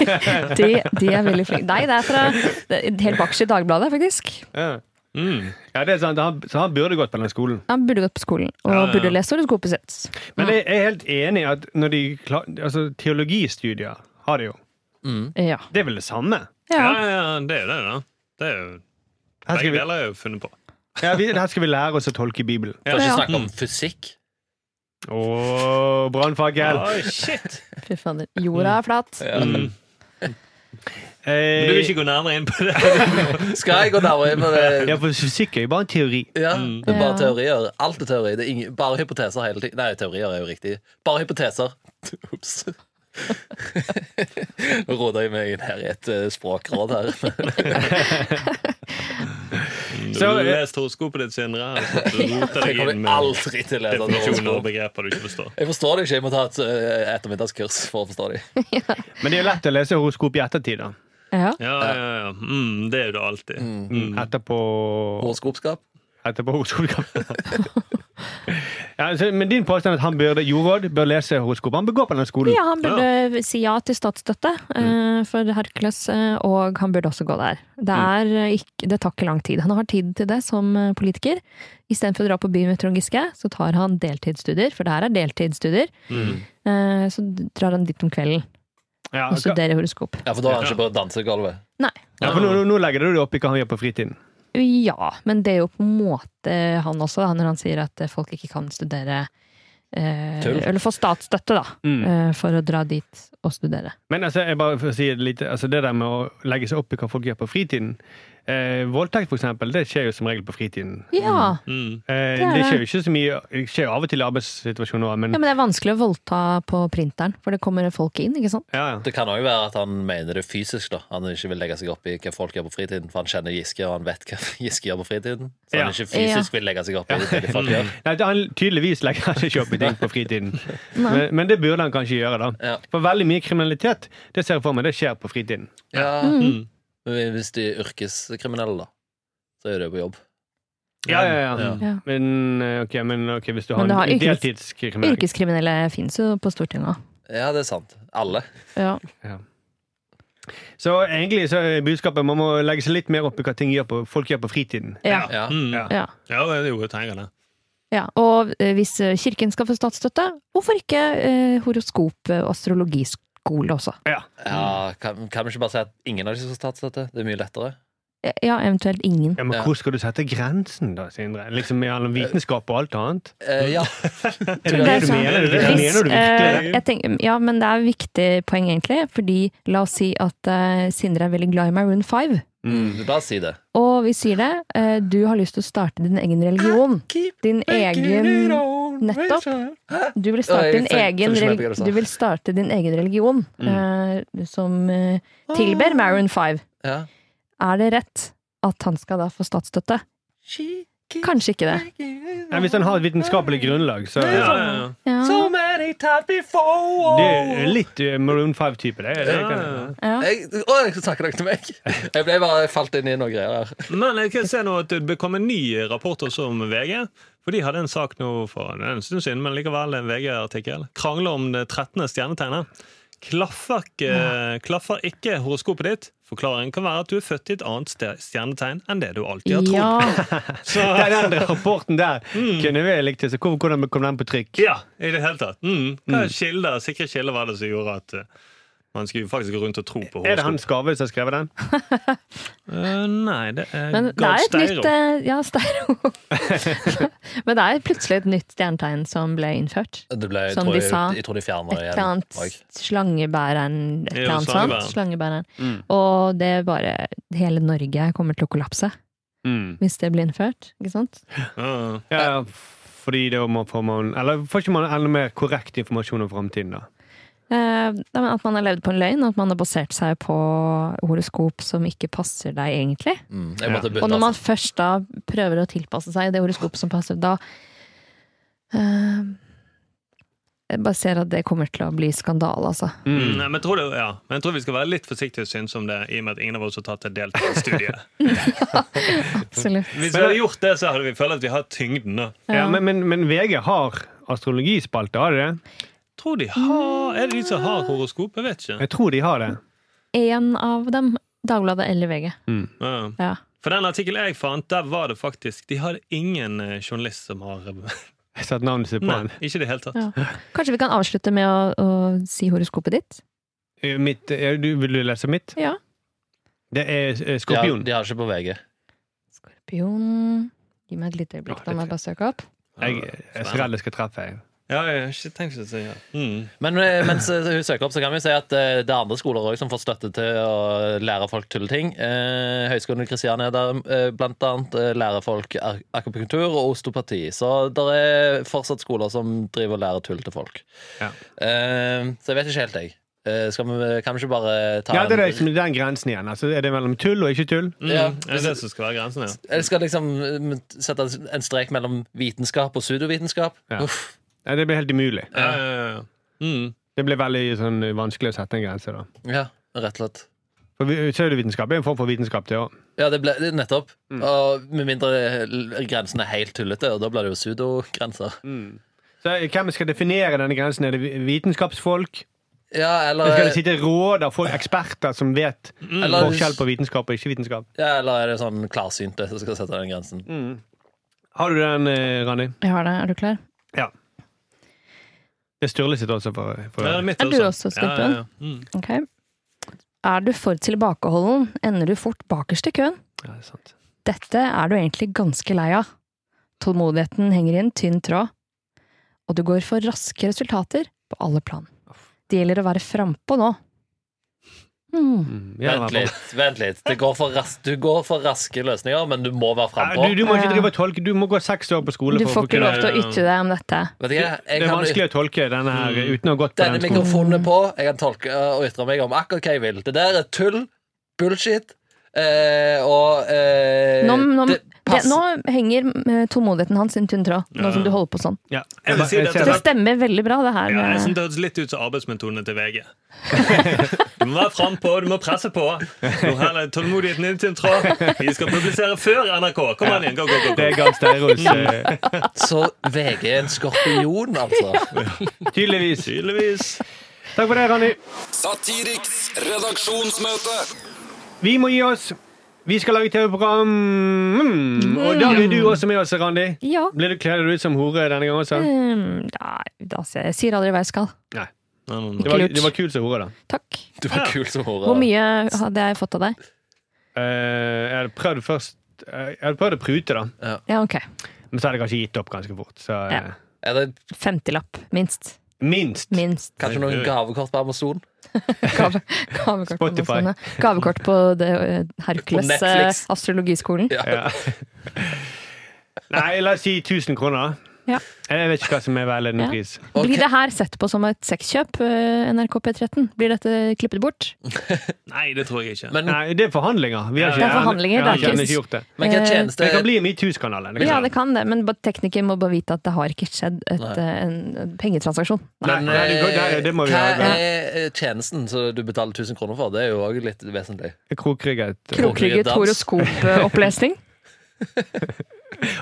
[SPEAKER 2] De, de er veldig flinke. Nei, det er fra det er helt bakerst i Dagbladet, faktisk.
[SPEAKER 4] Ja. Mm. ja, det er sant. Han, så han burde gått på den skolen.
[SPEAKER 2] Han burde gått på skolen, og
[SPEAKER 6] Ja, ja, ja.
[SPEAKER 2] burde lest horoskopet sitt.
[SPEAKER 4] Men jeg er helt enig i at når de klar, altså, teologistudier har det jo.
[SPEAKER 2] Ja.
[SPEAKER 4] Det er vel det samme?
[SPEAKER 6] Ja, ja, ja, det er jo det, da. Det er jo,
[SPEAKER 4] Her
[SPEAKER 6] begge
[SPEAKER 4] skal, vi,
[SPEAKER 6] deler er jo funnet på.
[SPEAKER 4] ja, vi, her skal vi lære oss å tolke Bibelen.
[SPEAKER 3] Kan ikke
[SPEAKER 2] Ja.
[SPEAKER 3] snakke om fysikk.
[SPEAKER 4] Å, brannfakkel!
[SPEAKER 6] Oi, shit!
[SPEAKER 2] Fy fader. Jorda er flat.
[SPEAKER 6] Men du vil
[SPEAKER 4] Eh,
[SPEAKER 6] ikke gå nærmere inn på det?
[SPEAKER 3] Skal jeg gå nærmere inn på
[SPEAKER 4] ja,
[SPEAKER 3] det?
[SPEAKER 4] for fysikk er jo bare en teori.
[SPEAKER 3] Ja, det er bare
[SPEAKER 2] Ja.
[SPEAKER 3] teorier. Alt er teori. Det er ingen, bare hypoteser hele tiden. Nei, teorier er jo riktig. Bare hypoteser. Ops. Nå roter jeg meg inn her i et eh, språkråd her.
[SPEAKER 6] Du
[SPEAKER 4] Så,
[SPEAKER 6] har
[SPEAKER 4] eh,
[SPEAKER 6] lest horoskopet ditt, Sindre. og så
[SPEAKER 3] Jeg
[SPEAKER 6] roter deg inn
[SPEAKER 3] kommer
[SPEAKER 6] med
[SPEAKER 3] aldri til å lese
[SPEAKER 6] definisjoner og
[SPEAKER 3] sånn horoskop.
[SPEAKER 6] begreper du ikke forstår.
[SPEAKER 3] Jeg forstår det ikke. Jeg må ta et eh, ettermiddagskurs for å forstå det.
[SPEAKER 4] Men det er jo lett å lese horoskop i ettertid. da.
[SPEAKER 2] Ja.
[SPEAKER 6] Ja, ja, ja. Mm, det er jo det alltid.
[SPEAKER 4] Etterpå,
[SPEAKER 3] Horoskopskap.
[SPEAKER 4] etterpå horoskop. ja, så, men din påstand er at han burde, Jorodd bør lese horoskop. Han bør gå på den skolen.
[SPEAKER 2] ja, han burde eh, si ja til statsstøtte eh, for Hercules, eh, og han burde også gå der. Det, er, eh, ikke, det tar ikke lang tid. Han har tid til det som eh, politiker. Istedenfor å dra på byen med Trond Giske, så tar han deltidsstudier, for det her er deltidsstudier. Eh, Så drar han dit om kvelden
[SPEAKER 4] Ja,
[SPEAKER 2] og
[SPEAKER 4] hva-
[SPEAKER 2] studerer horoskop.
[SPEAKER 3] Ja, for da har han ikke på dansegulvet.
[SPEAKER 2] Nei.
[SPEAKER 4] ja, for nå, nå- nå legger du det opp i hva han gjør på fritiden.
[SPEAKER 2] Ja, men det er jo på en måte han også, da, når han sier at eh, folk ikke kan studere eh,
[SPEAKER 3] Tull.
[SPEAKER 2] Eller få statsstøtte, da, eh, for å dra dit og studere.
[SPEAKER 4] Men altså, jeg bare for å si det litt, altså det der med å legge seg opp i hva folk gjør på fritiden eh, Voldtekt, for eksempel, det skjer jo som regel på fritiden.
[SPEAKER 2] Ja,
[SPEAKER 6] Mm.
[SPEAKER 4] Eh,
[SPEAKER 2] er
[SPEAKER 4] det
[SPEAKER 2] det.
[SPEAKER 4] skjer jo ikke så mye Det skjer jo av og til i arbeidssituasjoner òg, men
[SPEAKER 2] Ja, men det er vanskelig å voldta på printeren, for det kommer folk inn, ikke sant?
[SPEAKER 4] ja, ja.
[SPEAKER 3] Det kan òg være at han mener det fysisk. da Han ikke vil legge seg opp i hva folk gjør på fritiden, for han kjenner Giske, og han vet hva Giske gjør på fritiden. Så han
[SPEAKER 4] Ja.
[SPEAKER 3] ikke fysisk vil legge seg opp i det de folk gjør.
[SPEAKER 4] Nei, han tydeligvis legger han ikke opp i ting på fritiden. Men, men det burde han kanskje gjøre, da.
[SPEAKER 3] Ja.
[SPEAKER 4] For veldig mye kriminalitet det ser jeg for meg, det skjer på fritiden.
[SPEAKER 3] Ja.
[SPEAKER 2] Mm.
[SPEAKER 3] Mm. Men Hvis de er yrkeskriminelle, da, så er det jo på jobb.
[SPEAKER 4] Ja, ja, ja.
[SPEAKER 3] Ja.
[SPEAKER 2] Ja.
[SPEAKER 4] Men, eh, ok, men ok, hvis du har,
[SPEAKER 2] Men du har
[SPEAKER 4] en
[SPEAKER 2] yrkes-
[SPEAKER 4] deltidskriminell
[SPEAKER 2] Yrkeskriminelle fins jo på Stortinget òg.
[SPEAKER 3] Ja, det er sant. Alle.
[SPEAKER 2] Ja.
[SPEAKER 4] Så egentlig så er budskapet man må legge seg litt mer opp i hva ting gjør på, folk gjør på fritiden.
[SPEAKER 2] Ja.
[SPEAKER 3] Ja.
[SPEAKER 6] Mm.
[SPEAKER 4] Ja.
[SPEAKER 2] Ja.
[SPEAKER 6] Ja, det er jo jeg tenker det.
[SPEAKER 2] ja. Og eh, hvis eh, kirken skal få statsstøtte, hvorfor ikke eh, horoskop- og astrologiskole også?
[SPEAKER 4] Ja.
[SPEAKER 3] Ja, kan, kan vi ikke bare si at ingen av de som har tatt dette? Det er mye lettere.
[SPEAKER 2] Ja, eventuelt ingen.
[SPEAKER 4] Ja, men
[SPEAKER 3] Ja.
[SPEAKER 4] hvor skal du sette grensen, da, Sindre? Liksom Mellom vitenskap og alt annet?
[SPEAKER 3] Eh, ja.
[SPEAKER 4] Er det
[SPEAKER 2] Det
[SPEAKER 4] det
[SPEAKER 2] er sånn-
[SPEAKER 4] du
[SPEAKER 2] sant.
[SPEAKER 4] mener?
[SPEAKER 6] Hvis,
[SPEAKER 4] mener du virkelig
[SPEAKER 2] eh,
[SPEAKER 4] det?
[SPEAKER 2] jeg tenker, ja, men det er et viktig poeng, egentlig. Fordi la oss si at eh, Sindre er veldig glad i Maroon 5.
[SPEAKER 3] Bare Mm. si det.
[SPEAKER 2] Og vi sier det, eh, du har lyst til å starte din egen religion. Din egen Nettopp. Du vil
[SPEAKER 3] Oi,
[SPEAKER 2] starte din
[SPEAKER 3] følg-
[SPEAKER 2] egen,
[SPEAKER 3] følg med
[SPEAKER 2] rel-
[SPEAKER 3] på hva du sa.
[SPEAKER 2] du vil starte din egen religion, eh, som eh, tilber Maroon 5.
[SPEAKER 3] Ja.
[SPEAKER 2] Er det rett at han skal da få statsstøtte? Kanskje ikke det.
[SPEAKER 4] Nei, hvis den har et vitenskapelig grunnlag, så
[SPEAKER 6] Ja, ja, ja.
[SPEAKER 2] Ja,
[SPEAKER 4] Det er litt eh, Maroon 5-type, det. det kan,
[SPEAKER 2] ja.
[SPEAKER 3] Jeg, å, jeg skal takke dere til meg. Jeg ble bare jeg falt inn i noen greier her.
[SPEAKER 6] Men eh, jeg kan se nå at det kom en ny rapport også om VG. For de hadde en sak nå for det er en stund siden, men likevel en VG-artikkel. Krangler om det 13. stjernetegnet. Klaffer ikke, klaffer ikke horoskopet ditt? Forklaringen kan være at du er født i et annet ste- stjernetegn enn det du alltid har trodd.
[SPEAKER 2] ja.
[SPEAKER 6] Så,
[SPEAKER 4] Den andre rapporten der kunne vi likt. Så hvor- hvordan kom den på trykk?
[SPEAKER 6] ja, i det hele tatt. Mm. Hva er kilder, Sikre kilder var det som gjorde at eh, man skulle faktisk gå rundt og tro på
[SPEAKER 4] Er det han
[SPEAKER 6] horoskop.
[SPEAKER 4] Skarve som har skrevet den?
[SPEAKER 6] Eh, nei, det er
[SPEAKER 2] Men det
[SPEAKER 6] Gard
[SPEAKER 2] er et
[SPEAKER 6] Steiro.
[SPEAKER 2] nytt eh, Ja, Steiro. Men det er plutselig et nytt stjernetegn som ble innført.
[SPEAKER 3] Det ble, jeg,
[SPEAKER 2] Som
[SPEAKER 3] tror
[SPEAKER 2] de
[SPEAKER 3] jeg,
[SPEAKER 2] sa,
[SPEAKER 3] jeg tror de
[SPEAKER 2] Et
[SPEAKER 3] fjerna det
[SPEAKER 2] eller
[SPEAKER 3] igjen. Og jeg-
[SPEAKER 2] annet slangebæreren Et
[SPEAKER 6] Jo,
[SPEAKER 2] eller annet sånt. Slangebæreren. Og det er bare Hele Norge kommer til å kollapse hvis det blir innført. Ikke sant?
[SPEAKER 6] Ja, ja.
[SPEAKER 4] Ja, ja, fordi da må får man Eller får ikke man enda mer korrekt informasjon om framtiden, da?
[SPEAKER 2] Eh, nei, men at man har levd på en løgn, at man har basert seg på horoskop som ikke passer deg egentlig.
[SPEAKER 3] Mm, jeg måtte
[SPEAKER 2] Og
[SPEAKER 3] bytte.
[SPEAKER 2] når man
[SPEAKER 3] altså.
[SPEAKER 2] først da prøver å tilpasse seg det horoskopet som passer, da eh, Jeg bare ser at det kommer til å bli skandale, altså.
[SPEAKER 6] Mm, nei, men, jeg tror det, ja. men jeg tror vi skal være litt forsiktige og synes om det, i og med at ingen av oss har tatt et deltakerstudie.
[SPEAKER 2] Absolutt.
[SPEAKER 6] Hvis vi hadde gjort det, så hadde vi følt at vi har tyngden. da.
[SPEAKER 4] Ja, men, men, men VG har astrologispalte, har de det?
[SPEAKER 6] Tror de har, Er det de som har horoskop? Jeg vet ikke.
[SPEAKER 4] Jeg tror de har det.
[SPEAKER 2] Én av dem. Dagbladet eller VG.
[SPEAKER 6] Ja.
[SPEAKER 2] Ja.
[SPEAKER 6] For den artikkelen jeg fant, der var det faktisk De hadde ingen eh, journalist som har Nei,
[SPEAKER 4] Jeg satte navnet sitt på den.
[SPEAKER 6] ikke i det hele tatt.
[SPEAKER 2] Ja. Kanskje vi kan avslutte med å, å si horoskopet ditt?
[SPEAKER 4] Eh, Mitt, eh, du, vil du lese mitt?
[SPEAKER 2] Ja.
[SPEAKER 4] Det er eh,
[SPEAKER 3] De har-
[SPEAKER 4] skorpion.
[SPEAKER 3] De har ikke på VG.
[SPEAKER 2] Skorpion Gi meg et lite øyeblikk, da må jeg bare søke opp.
[SPEAKER 4] Jeg, eh, jeg er så redd jeg skal treffe. Jeg.
[SPEAKER 6] Ja, ja, ikke tenk så å Mm.
[SPEAKER 3] Men eh, mens eh, hun søker opp, så kan vi si at eh, det er andre skoler også som får støtte til å lære folk tulleting. Eh, Høgskolen i Kristiania er der eh, blant annet eh, lærer folk ak- akupunktur og osteopati. Så det er fortsatt skoler som driver og lærer tull til folk.
[SPEAKER 4] Ja.
[SPEAKER 3] Eh, så jeg vet ikke helt, jeg. Eh, skal vi, kan vi ikke bare ta
[SPEAKER 4] Ja, det er
[SPEAKER 3] en-
[SPEAKER 4] det som- den grensen igjen. Altså, er det mellom tull og ikke tull?
[SPEAKER 6] Mm.
[SPEAKER 3] Ja.
[SPEAKER 6] Er det det som skal være grensen, ja?
[SPEAKER 3] Eller skal liksom eh, sette en strek mellom vitenskap og pseudovitenskap?
[SPEAKER 4] Ja.
[SPEAKER 3] Uff.
[SPEAKER 4] Nei, det blir helt umulig.
[SPEAKER 6] Ja, ja, ja, ja. Mm.
[SPEAKER 4] Det blir veldig sånn, vanskelig å sette en grense, da.
[SPEAKER 3] ja, rett og slett.
[SPEAKER 4] For vi- Pseudovitenskap er en form for vitenskap, det òg.
[SPEAKER 3] Ja, det ble, det- nettopp.
[SPEAKER 2] Mm.
[SPEAKER 3] Og med mindre l- grensen er helt tullete, og da blir det jo pseudogrenser.
[SPEAKER 2] Mm.
[SPEAKER 4] Så eh, hvem skal definere denne grensen? Er det vi- vitenskapsfolk?
[SPEAKER 3] Ja, eller,
[SPEAKER 4] Eller skal det sitte råd av folk, eksperter som vet
[SPEAKER 3] Eller-
[SPEAKER 4] forskjell på vitenskap og ikke vitenskap?
[SPEAKER 3] ja, eller er det sånn klarsynte som skal sette den grensen?
[SPEAKER 4] Har du den, eh, Randi?
[SPEAKER 2] Jeg har det. Er du klar?
[SPEAKER 4] Ja. Det er Sturle sitt også. For, for
[SPEAKER 6] Ja, det er mitt
[SPEAKER 2] Er du også skorpion?
[SPEAKER 6] Ja, ja, ja. Mm.
[SPEAKER 2] Ok. Er du for tilbakeholden, ender du fort bakerst i køen.
[SPEAKER 4] Ja, det er sant.
[SPEAKER 2] Dette er du egentlig ganske lei av. Tålmodigheten henger i en tynn tråd, og du går for raske resultater på alle plan. Det gjelder å være frampå nå. Hmm.
[SPEAKER 4] Mm, ja,
[SPEAKER 3] vent
[SPEAKER 4] det er bra.
[SPEAKER 3] litt. vent litt det går for ras, Du går for raske løsninger, men du må være
[SPEAKER 4] Ja, du,
[SPEAKER 3] frampå.
[SPEAKER 4] du må
[SPEAKER 2] Ja.
[SPEAKER 4] ikke drive og tolke. Du må gå seks år på skole.
[SPEAKER 2] Du
[SPEAKER 4] for å
[SPEAKER 2] får ikke
[SPEAKER 4] kunne-
[SPEAKER 2] lov til å ytre deg om dette.
[SPEAKER 3] Vet ikke, jeg
[SPEAKER 4] Det er
[SPEAKER 3] kan,
[SPEAKER 4] vanskelig å tolke denne her eh, uten å ha gått på
[SPEAKER 3] denne
[SPEAKER 4] den skolen.
[SPEAKER 3] mikrofonen er på. Jeg kan tolke eh, og ytre meg om akkurat hva jeg vil. Det der er tull. Bullshit. Eh, og eh,
[SPEAKER 2] Nå, nå,
[SPEAKER 3] det
[SPEAKER 2] det,
[SPEAKER 3] passer-
[SPEAKER 2] nå henger eh, tålmodigheten hans i en tynn tråd, nå som du holder på sånn.
[SPEAKER 4] Ja.
[SPEAKER 6] Jeg vil si
[SPEAKER 4] Jeg
[SPEAKER 6] dette
[SPEAKER 4] ser
[SPEAKER 6] er
[SPEAKER 2] Det
[SPEAKER 4] det.
[SPEAKER 2] stemmer veldig bra, det her.
[SPEAKER 6] Ja, jeg
[SPEAKER 2] eh,
[SPEAKER 6] synes Det høres litt ut som arbeidsmetodene til VG. Du må være frampå, du må presse på. Nå heller tålmodigheten inn til en tråd. Vi skal publisere før NRK. Kom an igjen, gå, gå, gå.
[SPEAKER 4] Det
[SPEAKER 6] gå.
[SPEAKER 4] er Gard Steiros. eh,
[SPEAKER 3] Så VG er en skorpion, altså.
[SPEAKER 4] Tydeligvis.
[SPEAKER 6] Tydeligvis.
[SPEAKER 4] Takk for det, Randi.
[SPEAKER 5] Satiriks redaksjonsmøte.
[SPEAKER 4] Vi må gi oss. Vi skal lage TV-program. Mm. Og da blir du også med oss, Randi.
[SPEAKER 2] Ja.
[SPEAKER 4] Blir du Kler du ut som hore denne gangen også?
[SPEAKER 2] Hmm, Nei, da sier jeg jeg sier aldri hva jeg skal.
[SPEAKER 4] Nei.
[SPEAKER 6] Nei, nei,
[SPEAKER 4] Det
[SPEAKER 6] nei.
[SPEAKER 4] var,
[SPEAKER 2] lurt.
[SPEAKER 4] det var kult som hore, da.
[SPEAKER 2] Takk.
[SPEAKER 3] Du var kul som hore.
[SPEAKER 2] Hvor mye hadde jeg fått av deg?
[SPEAKER 4] Eh, jeg hadde prøvd først eh, Jeg hadde prøvd å prute, da.
[SPEAKER 2] Ja, ok.
[SPEAKER 4] Men så hadde jeg kanskje gitt opp ganske fort. Så, eh,
[SPEAKER 2] Ja.
[SPEAKER 3] Er det
[SPEAKER 2] 50-lapp, minst.
[SPEAKER 4] Minst.
[SPEAKER 2] Minst.
[SPEAKER 3] Kanskje noen gavekort på Amazon?
[SPEAKER 2] Gave, gavekort på
[SPEAKER 4] Spotify.
[SPEAKER 2] Amazon, ja. Gavekort på det, eh, Hercules
[SPEAKER 3] På Netflix.
[SPEAKER 2] eh, astrologiskolen.
[SPEAKER 3] Ja.
[SPEAKER 4] Nei, la oss si 1000 kroner.
[SPEAKER 2] Ja.
[SPEAKER 4] Jeg vet ikke hva som er veiledende
[SPEAKER 2] Ja.
[SPEAKER 4] pris.
[SPEAKER 3] Ok.
[SPEAKER 2] Blir det her sett på som et sexkjøp, eh, NRK P13? Blir dette klippet bort?
[SPEAKER 6] Nei, det tror jeg ikke.
[SPEAKER 3] Men,
[SPEAKER 4] Nei, det er forhandlinger. Vi har ikke,
[SPEAKER 6] Det er
[SPEAKER 2] forhandlinger,
[SPEAKER 4] jeg har
[SPEAKER 2] det er
[SPEAKER 4] ikke,
[SPEAKER 2] ikke-
[SPEAKER 4] ikke gjort det.
[SPEAKER 3] men hva
[SPEAKER 2] Eh,
[SPEAKER 3] tjeneste
[SPEAKER 4] Det kan bli Metoo-skandalen. det kan
[SPEAKER 2] Ja,
[SPEAKER 4] det.
[SPEAKER 2] det kan det, men bare tekniker må bare vite at det har ikke skjedd et,
[SPEAKER 3] Nei.
[SPEAKER 2] eh, en en pengetransaksjon.
[SPEAKER 4] Nei, nei, det går- nei, det må vi
[SPEAKER 3] hva
[SPEAKER 4] ha.
[SPEAKER 3] er eh, tjenesten som du betaler 1000 kroner for? Det er jo òg litt vesentlig.
[SPEAKER 4] Krokrygget. eh,
[SPEAKER 2] Krokrygget
[SPEAKER 3] Dans.
[SPEAKER 2] horoskopopplesning.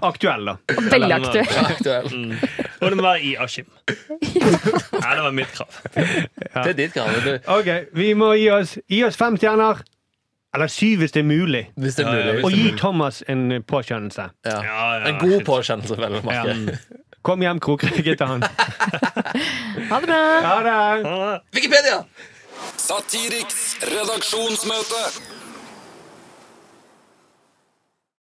[SPEAKER 4] Aktuell, da.
[SPEAKER 2] Og Veldig aktuell.
[SPEAKER 3] Aktuell.
[SPEAKER 6] Og det må være i Askim. Nei, det var mitt krav.
[SPEAKER 3] Det er ditt krav. men Du,
[SPEAKER 4] Ok, vi må gi oss, gi oss fem stjerner. Eller syv hvis det er mulig.
[SPEAKER 3] hvis det
[SPEAKER 6] Ja, ja,
[SPEAKER 3] er
[SPEAKER 6] hvis
[SPEAKER 3] mulig.
[SPEAKER 4] Og gi Thomas en påskjønnelse.
[SPEAKER 3] Ja.
[SPEAKER 6] Ja, ja,
[SPEAKER 3] En god
[SPEAKER 6] shit.
[SPEAKER 3] påkjennelse, vel å merke.
[SPEAKER 4] Kom hjem, krokrygget til han.
[SPEAKER 2] Ha det bra!
[SPEAKER 4] Ha det!
[SPEAKER 3] Wikipedia!
[SPEAKER 5] Satiriks redaksjonsmøte.